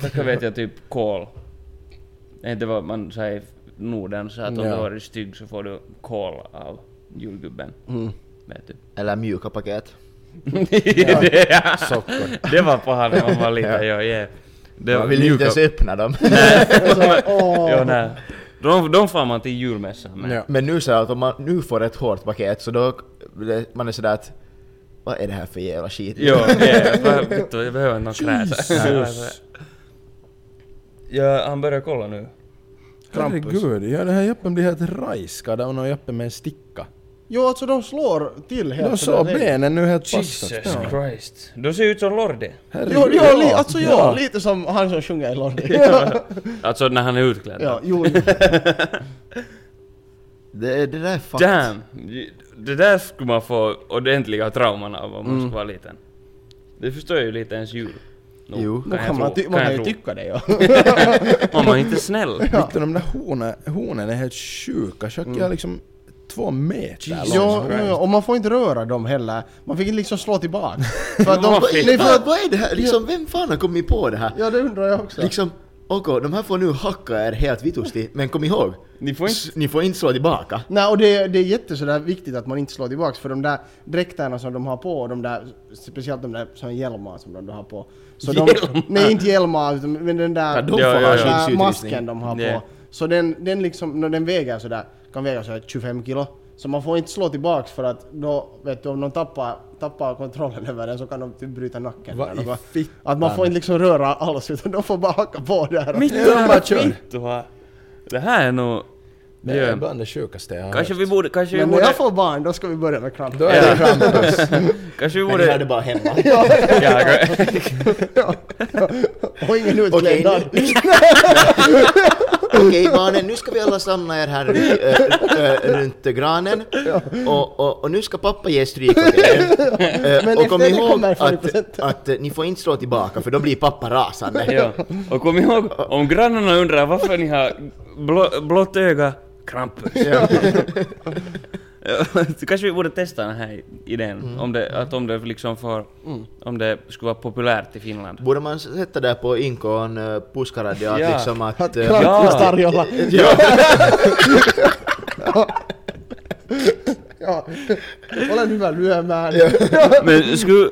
S4: Tacka vet jag typ kol. Nej, det var man säger i Norden så att om
S2: Ja.
S4: du har varit stygg så får du kol av julgubben. Vet du.
S3: Eller mjuka paket.
S4: det,
S2: Sockor.
S4: det var paha när man var liten, ja. ja. Det
S3: Man vill ju inte
S4: mjuka-
S3: ens öppna dem.
S4: ja, nej. De, de får man till julmässan med.
S2: Ja.
S3: Men nu så här att om man nu får ett hårt paket så då man är sådär att vad är det här för jävla skit?
S4: Jo, ja, jag behöver- jag behöver någon kräs.
S2: Jesus.
S4: Ja, han börjar kolla nu.
S5: Krampus.
S2: Herregud, ja, den här jeppen blir helt rajskad av någon jeppe med en sticka.
S5: Jo, alltså de slår till helt
S2: De såg
S5: sådär.
S2: benen nu helt
S4: Jesus
S2: passat. Ja.
S4: Christ. Du ser ut som Lordi.
S5: Jo,
S2: Herregud.
S5: jo li, alltså jo,
S2: Ja.
S5: lite som han som sjunger i Lordi. ja,
S4: Alltså när han är utklädd.
S5: ja, jo,
S3: Det, det där är fucked.
S4: Damn! Det där skulle man få ordentliga trauman av om man
S5: Mm.
S4: skulle vara liten. Det förstör ju lite ens jul. Nog,
S3: Jo.
S5: nu
S4: jag
S5: kan man,
S4: tro,
S5: ty- man kan
S4: jag
S5: ju
S4: tro.
S5: tycka det ja.
S4: Om man inte är snäll.
S2: Victor, de där hornen, hornen är helt sjuka. Chucky har liksom två meter
S4: Jesus.
S5: Mm. ja,
S2: långa.
S5: ja, ja, och man får inte röra dem heller. Man fick inte liksom slå tillbaka. För att de,
S4: Man
S3: Vad är,
S5: nej, för
S3: vad,
S5: att,
S3: vad är det här? Liksom, vem fan har kommit på det här?
S5: ja, det undrar jag också.
S3: Liksom, okej, de här får nu hacka er helt vitusti, men kom ihåg,
S4: Ni får inte-
S3: s- ni får inte slå tillbaka.
S5: Nej, och det, det är jättesådär viktigt att man inte slår tillbaks för de där dräkterna som de har på, och de där, speciellt de där såna hjälmar som de då har på. Så de,
S4: Hjälmar?
S5: nej, inte hjälmar, utan- men den där,
S3: Ja, de
S4: får ha
S5: den där
S3: skyddsutrustning.
S5: masken de har
S4: Nej.
S5: på. Så den, den, liksom, när den väger sådär, kan väga sådär 25 kilo. Så man får inte slå tillbaks för att då, vet du, om de tappar, tappar kontrollen över den så kan de typ bryta nacken.
S2: Vad
S5: eller
S2: i
S5: något.
S2: fittan?
S5: Att man får inte liksom röra alls utan de får bara hacka på där.
S4: Mitt
S2: Ja, de bara kör.
S4: mitt du har. Det här är nog...
S2: Det är
S4: Ja.
S2: bland det sjukaste jag har
S4: Kanske
S2: hört.
S4: vi borde... Kanske vi
S5: Men när
S4: borde...
S5: jag får barn då ska vi börja med kramp.
S2: Då är det
S4: Ja.
S2: Krampus.
S4: Kanske vi
S3: Men ni hade
S4: borde...
S3: bara hemma.
S4: Ja, ka-
S5: Och ingen
S3: Okej,
S5: utklädd dag.
S3: nu- Okej barnen, nu ska vi alla samla er här eh, eh, runt granen. Och, och, och nu ska pappa ge stryk åt er. Eh,
S5: Men
S3: och
S5: efter
S3: kom
S5: det
S3: ihåg
S5: kommer
S3: att,
S5: 40%.
S3: att eh, ni får inte slå tillbaka för då blir pappa rasande.
S4: ja. Och kom ihåg, om grannarna undrar varför ni har blå, blått öga, krampus.
S3: Ja.
S4: Ja, kanske vi borde testa den här idén, om det, att om det liksom får, om det skulle vara populärt i Finland.
S3: Borde man sätta där på inkon eh, puskaradiat
S4: Ja.
S3: liksom att... eh,
S4: klart.
S5: Kramp hos Arjola.
S3: Ja.
S5: Ja. Olen hyvä lyömään.
S4: Men skulle...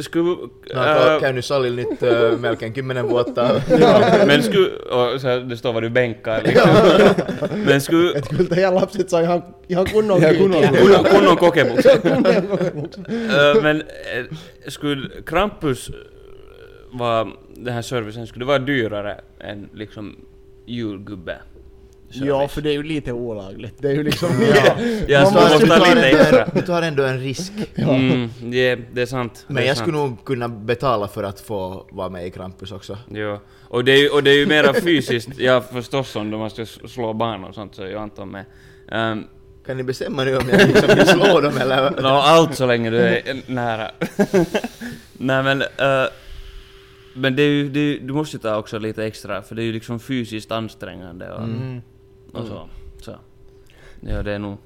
S4: skulle
S3: No, äh,
S4: äh,
S3: käynyt salilla nyt äh, melkein kymmenen vuotta.
S4: men skulle... Och så här, det står vad du bänkar liksom. Men skulle...
S5: Että kyllä teidän lapset saa ihan, ihan kunnon
S2: Ihan
S5: kyytiä.
S2: kunnon
S4: Kunnon, kunnon kokemus.
S5: Kunnon kokemuksen.
S4: Äh, men äh, skulle Krampus äh, vara... Den här servicen, skulle det vara dyrare än liksom julgubbe?
S5: Ja, för det är ju lite olagligt. Det är ju liksom...
S4: Ja,
S5: Man
S4: så
S5: måste
S4: måste
S5: ju
S4: man
S5: ta
S4: lite
S5: det
S4: extra.
S3: Du tar ändå en risk.
S4: Mm, det, det är sant. det
S3: Men
S4: är
S3: jag
S4: sant.
S3: skulle nog kunna betala för att få vara med i Krampus också.
S4: Jo, och det är ju, och det är ju mera fysiskt, ja förstås om de måste s- slå barn och sånt så är ju Anton med. Um,
S3: Kan ni bestämma nu om jag liksom vill slå dem eller?
S4: allt så länge du är en- nära. Nej men, eh, men det är ju, det är, ju- du måste ju ta också lite extra för det är ju liksom fysiskt ansträngande och, och så. så. Ja det är nog,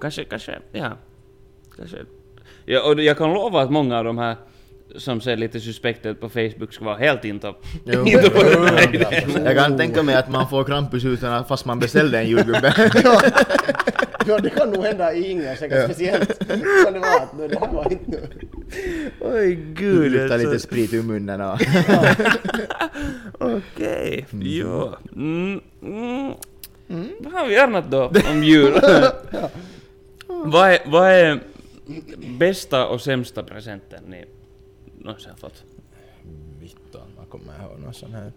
S4: kanske, kanske, ja. Kanske. Ja, och jag kan lova att många av de här som ser lite suspekt ut på Facebook ska vara helt inte
S3: Jo.
S4: inte på den här idén.
S3: Jag kan tänka mig att man får Krampus utan att fast man beställde en julgubbe.
S5: Ja, det kan nog hända i England säkert speciellt. Kan det vara att nu, det här var inte nu.
S4: Oj gud.
S3: Luktar
S4: alltså.
S3: lite sprit ur munnen och...
S4: Okej, ja. Mm, mm. Vad har vi annat då om jul? vad, är, vad är bästa och sämsta presenten ni någonsin har fått?
S2: Vittan, man kommer ihåg något sånt här.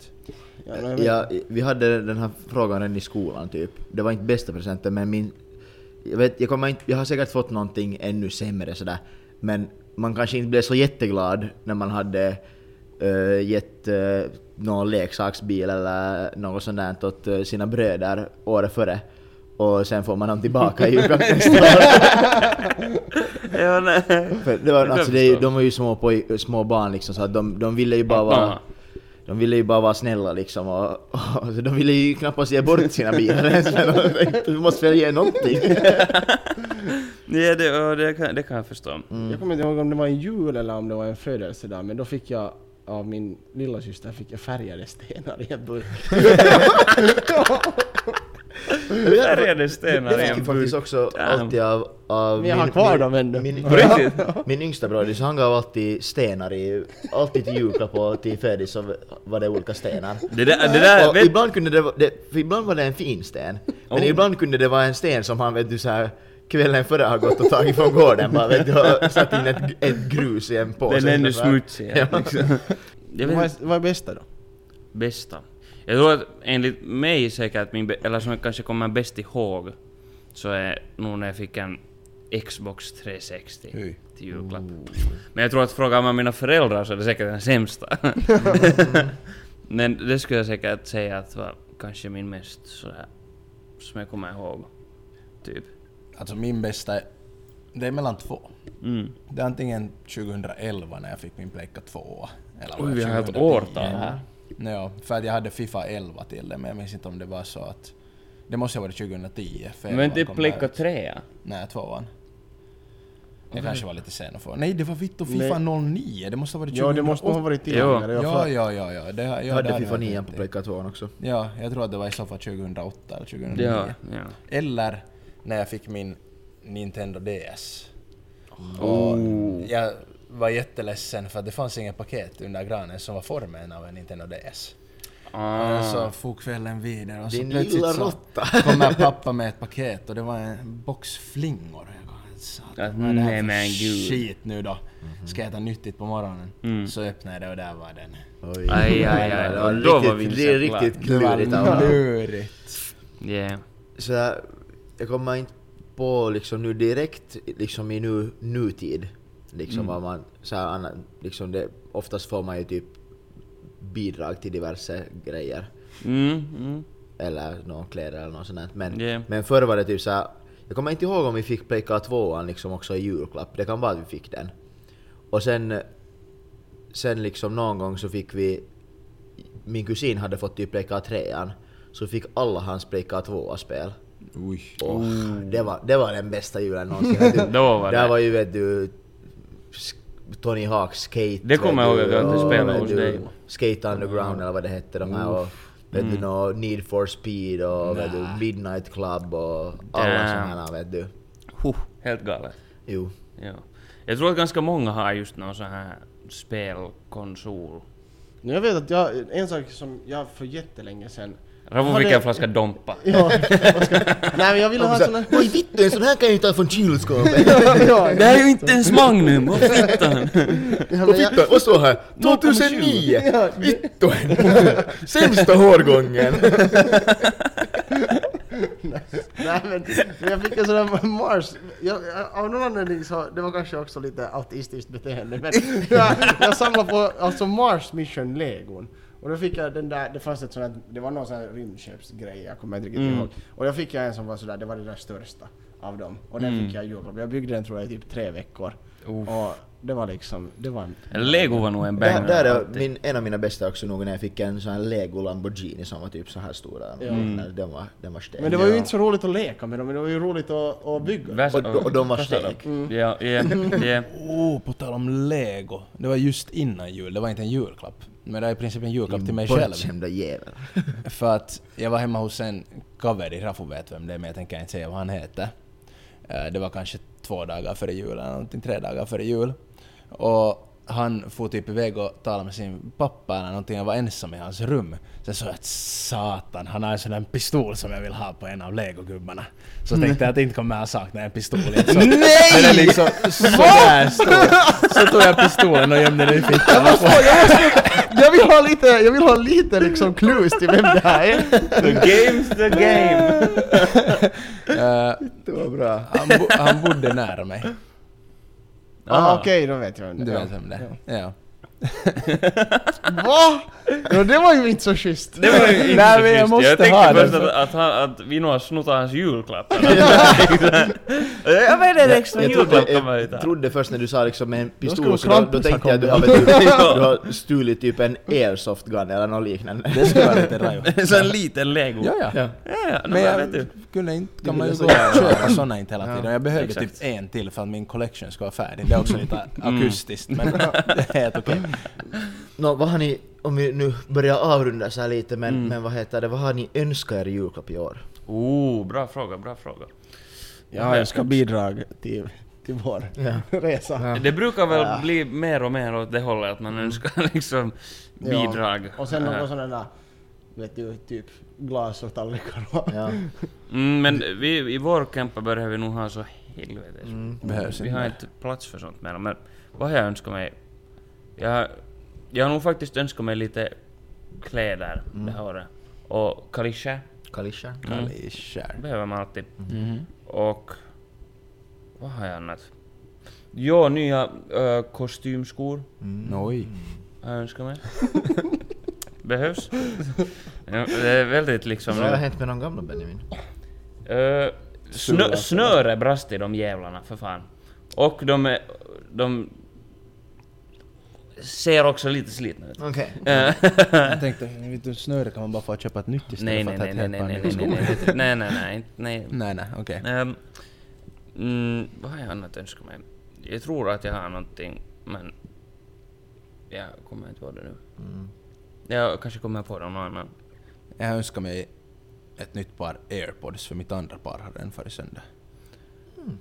S5: Ja, no, jag vet.
S3: Ja, vi hade den här frågan redan i skolan typ. Det var inte bästa presenten men min... Jag vet, jag kommer inte... Jag har säkert fått någonting ännu sämre sådär. Men man kanske inte blev så jätteglad när man hade eh, gett eh, någon leksaksbil eller något sånt där åt eh, sina bröder året före. Och sen får man dem tillbaka i julklapp nästa år.
S4: Ja, nej.
S3: För det var,
S4: Det
S3: alltså,
S4: kan
S3: det, är
S4: jag
S3: ju-
S4: förstå.
S3: de var ju små, poj- små barn liksom, så att de, de ville ju bara
S4: Aha.
S3: vara... De ville ju bara vara snälla liksom och, och så de ville ju knappast ge bort sina bilar ens, men de tänkte, vi måste väl ge någonting.
S4: Ja, det, ja, det, kan, det kan jag förstå.
S5: Jag kommer inte ihåg om det var en jul eller om det var en födelsedag, men då fick jag av min lilla syster fick jag färgade stenar i en burk.
S4: Där är det stenar
S3: Jag
S4: i en
S3: fick faktiskt
S4: burk.
S3: också
S4: Damn.
S3: alltid av... av
S5: Men jag har kvar dem ändå.
S3: Min,
S4: På riktigt?
S3: min yngsta bror, så han gav alltid stenar i... Alltid till julklapp och till födis så var det olika stenar.
S4: Det där, det där
S3: Och
S4: vet,
S3: ibland, kunde det, va- det, för ibland var det en fin sten, men
S4: Oh.
S3: ibland kunde det vara en sten som han vet du så här kvällen före har gått och tagit från gården bara vet du och satt in ett, ett grus i en påse.
S4: den är ännu
S3: Så här.
S4: smutsig. Ja. liksom. Jag vet
S5: Vad
S4: inte.
S5: är, vad är bästa då?
S4: Bästa? Jag tror att enligt mig säkert, min, bä- eller som jag kanske kommer bäst ihåg, så är nog när jag fick en Xbox 360
S2: Oj.
S4: till julklapp. Men jag tror att frågar man mina föräldrar så är det säkert den sämsta. Men det skulle jag säkert säga att var kanske min mest sådär, som jag kommer ihåg. Typ.
S2: Alltså min bästa, är- det är mellan två.
S4: Mm.
S2: Det är antingen 2011 när jag fick min Pleika 2. Eller var
S4: Oj,
S2: det
S4: vi har ett
S2: 2010?
S4: årtal här.
S2: Ja, för att jag hade Fifa 11 till det, men jag minns inte om det var så att... Det måste ha varit 2010, för
S4: Men
S2: 11
S4: inte
S2: kom
S4: Pleikka
S2: ut.
S4: 3 ja.
S2: Nej, tvåan. Jag kanske var lite sen att få. Nej, det var vittu Fifa 09, det måste ha varit 2008.
S5: Ja, det måste nog ha varit tidigare. Jag
S2: Ja,
S5: får-
S2: ja, ja, ja. Det, har- ja
S3: Jag
S2: det
S3: hade
S2: har
S3: Fifa
S2: jag
S3: 9
S2: rätt
S3: på
S2: i.
S3: Pleika 2 också.
S2: Ja, jag tror att det var i så fall 2008 eller 2009.
S4: Ja, ja.
S2: Eller när jag fick min Nintendo DS. Och jag var jätteledsen för att det fanns inget paket under granen som var formen av en Nintendo DS. Och
S4: Ah.
S2: så for kvällen vidare och så
S3: Din
S2: plötsligt
S3: lilla
S2: så
S3: råtta.
S2: kommer pappa med ett paket och det var en box flingor. Jag bara, satan, vad är det här
S4: Nej,
S2: för
S4: men gud.
S2: Skit nu då. Ska jag äta nyttigt på morgonen? Så öppnade jag det och där var den.
S3: Oj.
S4: Aj, aj, aj.
S3: Det var
S4: Då var
S3: riktigt-
S4: Vincent
S3: Det är
S4: glad.
S3: riktigt
S2: Det var
S3: klurigt. Alma.
S2: lurigt.
S4: Yeah.
S3: Så här, jag kommer inte på liksom nu direkt liksom i nu, nutid. Liksom
S4: Mm.
S3: vad man, så här, annan- liksom det, oftast får man ju typ bidrag till diverse grejer.
S4: Mm, mm.
S3: Eller någon kläder eller något sånt där. men,
S4: Yeah.
S3: men förr var det typ så här, Jag kommer inte ihåg om vi fick Playcar 2 liksom också i julklapp. Det kan vara att vi fick den. Och sen... Sen liksom någon gång så fick vi... Min kusin hade fått typ Playcar 3 Så fick alla hans Playcar 2-spel. Och Mm, det, var, det var den bästa julen någonsin. Jag typ-
S4: Då var
S3: Där
S4: Oh. det.
S3: var ju vet du... sk- Tony Hawk Skate.
S4: Det kommer jag
S3: vet du,
S4: ihåg att jag
S3: och,
S4: spelade
S3: vet
S4: hos
S3: du,
S4: dig.
S3: Skate Underground eller vad det hette de här och vet
S4: Mm.
S3: du nå, Need for Speed och vet du, Midnight Club och alla
S4: Damn.
S3: sådana här vet du.
S4: Huh, helt galet.
S3: Jo.
S4: Ja. Jag tror att ganska många har just någon sån här spelkonsol.
S5: Jag vet att jag, en sak som jag för jättelänge sedan...
S4: Ravo
S5: Har
S4: fick
S5: det-
S4: en flaska Dompa.
S5: Ja, vad ska, nej men jag ville ha
S3: Och så här,
S5: såna...
S3: Oj vittu, en sån här kan jag ju ta från kylskåpet!
S5: ja,
S4: Det här är ju inte ens Magnum! Vad fittan!
S3: Och titta, och så här! 2009!
S5: Ja,
S3: Vittu! Sämsta hårgången!
S5: Nej men, men jag fick en sån där Mars... Jag, jag- av någon anledning så, det var kanske också lite autistiskt beteende men jag, jag samlade på alltså Mars Mission legon. Och då fick jag den där, det fanns ett sånt här, det var någon sån här rymdköpsgrej, jag kommer inte riktigt ihåg. Och då fick jag en som var sådär, det var den där största av dem. Och den fick jag i julklapp. Jag byggde den tror jag i typ tre veckor. Och det var liksom, det var en...
S4: Lego var nog en
S3: Där,
S4: banger.
S3: där är min, en av mina bästa också nog när jag fick en sån här Lego Lamborghini som var typ så här stor. eller något sånt där. Den var, den var stel.
S5: Mm. Men det var ju inte så roligt att leka med dem, men det var ju roligt att, att bygga.
S4: Väs-
S3: och, och de var stek.
S4: Mm. Ja, ja, ja.
S2: Oh, på tal om lego. Det var just innan jul, det var inte en julklapp. Men det är i princip en julklapp till mig själv.
S3: Bortskämda jävel.
S2: För att jag var hemma hos en kaveri, Raffu vet vem det är men jag tänker inte säga vad han heter. Eh, Det var kanske två dagar före jul eller någonting, tre dagar före jul. Och han for typ iväg och talade med sin pappa eller någonting, jag var ensam i hans rum. Sen såg jag att satan, han har en sån där pistol som jag vill ha på en av legogubbarna. Så
S3: Mm.
S2: tänkte jag att inte kommer han sakna en pistol. Så, Nej! Den är liksom sådär stor. Så tog jag pistolen och gömde den i fickan.
S5: Jag vill ha lite, jag vill ha lite liksom clues till vem det här är.
S4: The game's the game!
S2: Eh,
S3: Det var bra.
S2: han, bo- han bodde nära mig.
S5: Ah, Okej, då vet jag vem
S2: Du
S5: det är.
S2: vet vem det är? Ja.
S5: Va? Ja, det var ju inte så schysst.
S4: Det var ju inte
S2: Nej,
S4: så
S2: men jag
S4: schysst.
S2: måste
S4: Jag tänkte
S2: ha
S4: först
S2: den.
S4: att, att, han- att vi nog har snott hans julklappar. jag vet inte extra julklapp kan man ju
S3: jag
S4: ta.
S3: trodde först när du sa liksom med en
S5: skulle
S3: pistol så då, då
S5: Krampus ha
S3: tänkte jag att du har,
S5: kommit.
S3: vet du, du har stulit typ en airsoft gun eller något liknande.
S2: Det skulle vara lite rajo.
S4: Så en liten lego.
S2: Ja, ja.
S3: Ja.
S4: ja, ja. No,
S2: Men
S4: men
S2: jag
S4: vet du.
S2: kunde inte, kan man ju
S3: ville
S2: gå och
S3: så gärna.
S2: köpa såna inte hela tiden. Jag behöver
S4: Exakt.
S2: typ en till för att min collection ska vara färdig. Det är också lite akustiskt men det är helt okej.
S3: Nå, vad har ni, om vi nu börjar avrunda så här lite, men, men vad heter det, vad har ni önskat er i julklapp i år?
S4: Oh, bra fråga, bra fråga.
S5: Ja, jag ska bidrag till, till vår resa.
S4: Det brukar väl bli mer och mer åt det hållet att man önskar liksom bidrag.
S5: Mm. Ja. Och sen
S4: Eh,
S5: någon sån där, vet du, typ glas och tallrikar och...
S3: Ja.
S4: mm, men vi, i vår camper börjar vi nog ha så helvetes.
S5: Mm.
S2: Behövs
S4: Vi har
S2: inte.
S4: inte plats för sånt mer. Men vad har jag önskat mig? Jag, jag har nog faktiskt önskat mig lite kläder
S5: Mm.
S4: det här året. Och kalischer.
S3: Kalisha?
S2: Mm. Kalischer.
S4: behöver man alltid.
S5: Mm.
S4: Och... Vad har jag annat? Jo, nya ö, kostymskor
S2: Oj.
S4: har jag önskat mig. Behövs. Ja, det är väldigt liksom...
S3: Vad har hänt med de gamla Benjamin?
S4: Ö, snö, snöre brast i de jävlarna för fan. Och de är... De ser också lite slitna ut. Eh,
S3: Okej.
S2: Jag tänkte, vet du, snöre kan man bara få köpa ett nytt
S4: Nej,
S2: istället för
S4: nej,
S2: att ha
S4: nej,
S2: ett
S4: nej,
S2: helt par
S4: nej, nej,
S2: nya
S4: nej,
S2: skor.
S4: nej, nej, nej, nej, inte- nej.
S2: Nej, nej, okej.
S4: Ehm, mm, vad har jag annat önskat mig? Jag tror att jag har någonting, men jag kommer inte på det nu. Jag kanske kommer på det om någon annan.
S2: Jag önskar mig ett nytt par airpods för mitt andra par hade den förra söndag.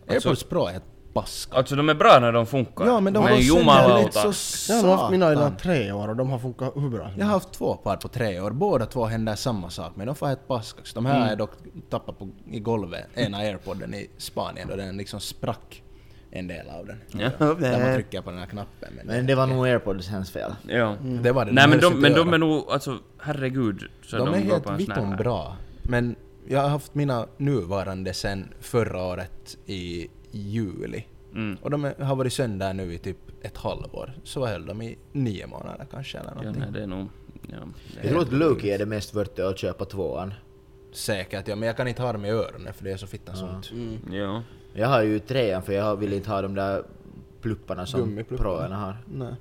S2: Airpods Pro är ett paska.
S4: Alltså de är bra när de funkar.
S2: Ja men de var
S4: jumalauta.
S2: så
S5: Jag har nog haft mina i
S2: satan.
S5: några tre år och de har funkat hur bra som
S2: Jag har haft två par på tre år, båda två händer samma sak men de får helt paskax. De här
S4: Mm.
S2: är dock tappat på, i golvet, ena airpodden i Spanien då den liksom sprack en del av den.
S4: Ja.
S2: Där man trycker på den här knappen. Men,
S3: Men det var nog airpodsens fel.
S4: Ja.
S2: det var det.
S4: Nej men
S2: hölls
S4: de,
S2: inte
S4: men
S2: i
S4: de är
S2: örat.
S4: nog, alltså herregud. Så
S2: de, är
S4: går
S2: helt
S4: på en sån här-
S2: vittom bra. Men jag har haft mina nuvarande sen förra året i juli.
S4: Mm.
S2: Och de är- har varit sönder nu i typ ett halvår. Så vad höll de i nio månader kanske eller
S4: Ja,
S2: någonting.
S4: nej, det är nog... Ja, det
S3: Jag
S4: är,
S3: tror att Loki är det mest värt att köpa tvåan.
S2: Säkert ja, men jag kan inte ha dem i öronen för det är så fittans ont.
S4: ja.
S3: Jag har ju trean för jag vill inte ha de där plupparna som
S2: Gummiplupparna.
S3: proarna har.
S2: Nej.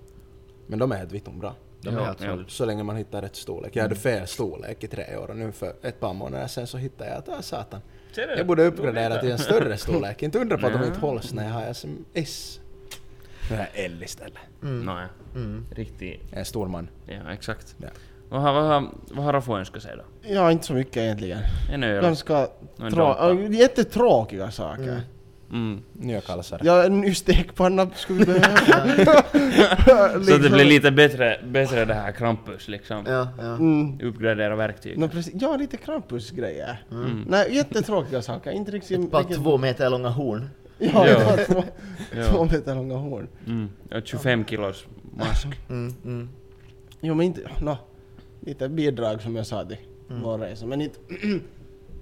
S2: Men de är helt vitt om bra.
S3: De är
S4: Ja,
S3: helt
S4: ja.
S3: solid.
S2: Så länge man hittar rätt storlek. Jag hade fel storlek i tre år och nu för ett par månader sen så hittade jag att ah, satan.
S4: Ser du?
S2: Jag borde uppgradera till en större storlek. Inte undra på att de inte hålls när jag har S. Nu har jag L istället.
S4: Nej. Riktigt.
S2: Jag är en stor man.
S4: Ja, exakt.
S2: Ja.
S4: Vad har, vad har, vad har Rafo önskat sig då?
S5: Ja, inte så mycket egentligen.
S4: En öl?
S5: Ganska
S4: En
S5: trå-
S4: data.
S5: äh, jättetråkiga saker.
S4: Mm.
S2: Nya kalsare.
S5: Ja, en ny stekpanna skulle vi behöva. Liksom-
S4: Så att det blir lite bättre, bättre det här Krampus liksom.
S3: Ja, ja.
S5: Mm.
S4: Uppgradera verktyg.
S5: Nå, precis. Ja, lite Krampus-grejer.
S4: Mm.
S5: Nej, jättetråkiga saker. Inte riktigt...
S3: Mm. Ett par två meter långa horn.
S4: Ja.
S5: Ja, ett par två,
S4: Ja.
S5: två meter långa horn.
S4: Mm. Och 25 kilos mask.
S3: Mm, mm.
S5: Jo, men inte... nå, lite bidrag som jag sa till
S3: Mm.
S5: vår resa, men inte...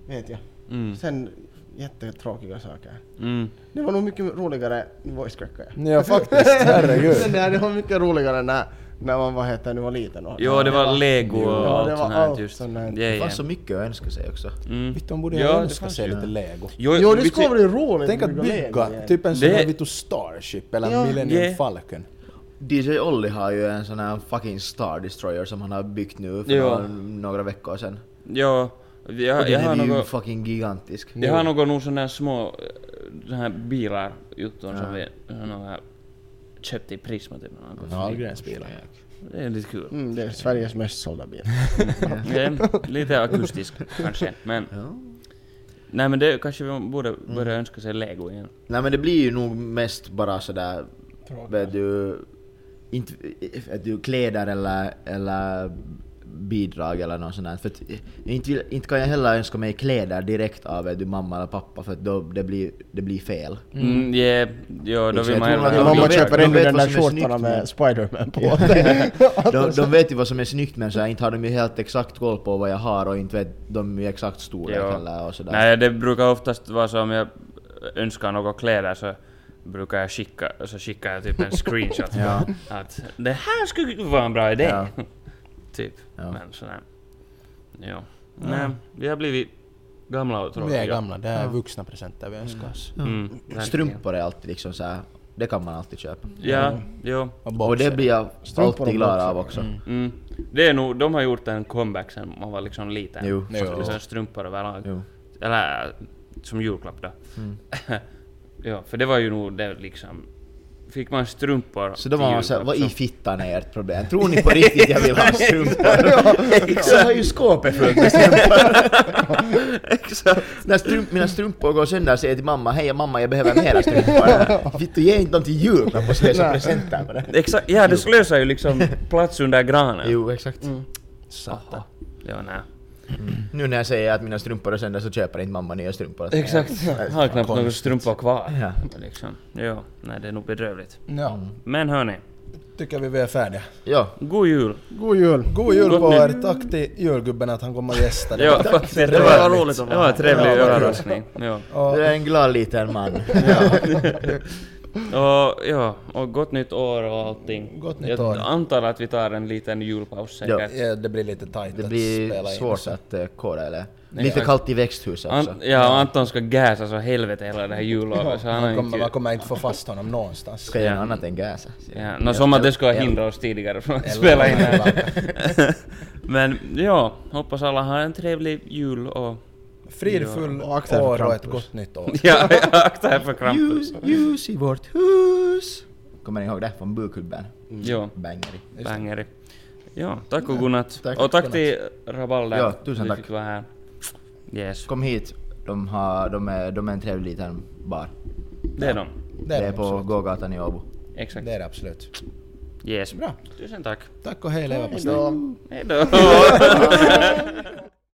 S5: vet jag.
S4: Mm.
S5: Sen jättetråkiga saker.
S4: Mm.
S5: Det var nog mycket roligare i voice cracker.
S2: Ja faktiskt,
S5: Men
S2: herregud.
S5: det här, det var mycket roligare när, när man var, heter, nu var liten. och-
S4: Jo, det var lego och
S5: Ja,
S4: allt
S5: det var
S4: sånt här.
S5: allt
S4: Just.
S5: sånt här.
S4: Ja,
S3: Det
S4: ja.
S3: fanns så mycket att önska sig också.
S4: Mm.
S2: Vitt de borde
S4: Ja, det
S2: jag önska
S4: fanns
S2: sig
S4: ju.
S2: lite lego.
S5: Jo, det
S4: vi
S5: skulle
S4: ser-
S5: vara roligt
S2: Tänk att bygga typ en sån
S4: Det-
S2: här vittu Starship eller
S5: Ja.
S2: Millennium
S4: Yeah.
S2: Falcon.
S3: DJ Olli har ju en sån här fucking Star Destroyer som han har byggt nu för
S4: Ja.
S3: några, några veckor sedan.
S4: Ja,
S3: Och
S4: jag, jag
S3: den
S4: har
S3: är ju
S4: något...
S3: fucking gigantisk.
S4: Jag har någon nog sådana här små eh, såna här bilar, jutton som vi såna här, köpte i Prisma typ. när man går förbi.
S2: Ahlgrens bilar.
S4: Det är lite kul.
S5: Mm, det är Sveriges mest sålda bil.
S4: Det är lite akustisk kanske, men... Nej men det kanske vi borde börja
S3: Mm.
S4: önska sig lego igen.
S3: Nej men det blir ju nog mest bara sådär, vet du, inte, vet du, kläder eller, eller bidrag eller något sånt där. För att, eh, inte, vill- inte kan jag heller önska mig kläder direkt av vet du, mamma eller pappa för att då, det, blir, det blir fel.
S4: Mm, yeah, ja, då
S3: Exakt.
S4: vill man
S3: Hon har-
S4: hellre
S3: Ja,
S4: ha
S5: Mamma
S3: de vet-
S5: köper
S3: de
S5: ändå
S3: vet
S5: den
S3: vad
S5: där
S3: som är
S5: skjortorna
S3: snyggt med-
S5: med Spiderman på. Allt
S3: De,
S5: och så.
S3: de vet ju vad som är snyggt men så här, inte har de ju helt exakt koll på vad jag har och inte vet de ju exakt storlek
S4: Ja.
S3: heller och sådär.
S4: Nej, det brukar oftast vara så om jag önskar några kläder så brukar jag skicka, så skickar jag typ en screenshot
S3: Ja.
S4: att det här skulle vara en bra idé.
S3: Ja.
S4: typ.
S3: Ja.
S4: Men sådär. Ja. Nej, vi har blivit gamla och
S2: Vi
S4: tråkiga.
S2: är gamla, det är vuxna presenter vi önskar oss.
S4: Mm, verkligen.
S3: Strumpor är alltid liksom så här. det kan man alltid köpa.
S4: Ja, jo.
S3: Och det
S2: boxer.
S3: blir jag
S5: Strumpor och
S3: alltid glad
S5: boxer.
S3: av också.
S4: Mm. Det är nog, de har gjort en comeback sen man var liksom liten.
S3: Jo,
S4: Så
S2: jo.
S4: Liksom strumpor överlag.
S3: Jo. Mm.
S4: Eller äh, som julklapp då. ja, för det var ju nog det liksom. Fick man strumpor
S3: Så då var
S4: till
S3: man såhär,
S4: julklapp liksom."
S3: vad
S4: så-
S3: i fittan är ert problem? Tror ni på riktigt jag vill ha strumpor? Jag har ju skåpet fullt med strumpor. När strump, mina strumpor går sönder säger jag till mamma, hej mamma jag behöver mera strumpor. Vittu ge inte dem till julklapp och slösa presenter på det.
S4: Exakt, ja det slösar ju liksom plats under granen.
S3: Jo, exakt.
S2: Mm. Satan.
S4: Ja, nej.
S3: Nu när jag säger att mina strumpor är sönder så köper inte mamma nya strumpor.
S4: Exakt. Har knappt några
S2: konstigt.
S4: strumpor kvar.
S3: Ja.
S4: Liksom. Jo, nej det är nog bedrövligt.
S2: Ja,
S3: Mm.
S4: Men hörni,
S2: tycker vi vi är färdiga.
S3: Ja,
S4: god jul!
S5: God jul!
S2: God jul
S4: Gott
S2: på
S4: nytt.
S2: er, tack till julgubben att han kom och gästade.
S4: Ja, faktiskt, det, var roligt att vara Det var en trevlig
S2: Ja,
S4: överraskning. Ja.
S2: Och
S3: du är en glad liten man.
S4: Och, ja, och gott nytt år och allting.
S2: Gott nytt
S4: Jag
S2: år.
S4: antar att vi tar en liten julpaus säkert.
S2: ja, det blir lite tight
S3: Det
S2: att
S3: blir
S2: spela in.
S3: svårt att eh, koda eller...
S4: Nej,
S3: Lite
S4: jag-
S3: kallt i växthuset också.
S4: An- ja, och Anton ska gasa så helvete hela det här jullovet så han har
S2: Man kommer,
S4: inte...
S2: man kommer inte få fast honom någonstans.
S3: Ska jag göra annat än gäsa?
S4: Ja, nå, som att det skulle ha hindrat oss tidigare från att
S2: Eller-
S4: spela in
S2: eller-
S4: här. Men ja, hoppas alla har en trevlig jul och...
S2: Fridfull
S5: Och akta er för
S2: år och ett
S5: Krampus.
S2: gott nytt år.
S4: Ja, akta er för Krampus.
S3: Ljus, ljus i vårt hus! Kommer ni ihåg det? Från Bukhubben?
S4: Ja,
S3: Bangeri.
S4: bangeri. Ja, tack och godnatt.
S3: tack.
S4: Och tack till Rabalder.
S3: Ja, tusen
S4: Vi
S3: tack.
S4: fick vara här. Yes,
S3: Kom hit, de, har, de, är, de är en trevlig liten bar.
S4: det är de.
S2: Det är
S3: Det är
S2: det
S3: på
S2: absolut.
S3: gågatan i Åbo.
S4: Exakt.
S2: Det är det absolut.
S4: Yes.
S2: Bra.
S4: Tusen tack.
S2: Tack och hej leverpastej.
S4: Hejdå.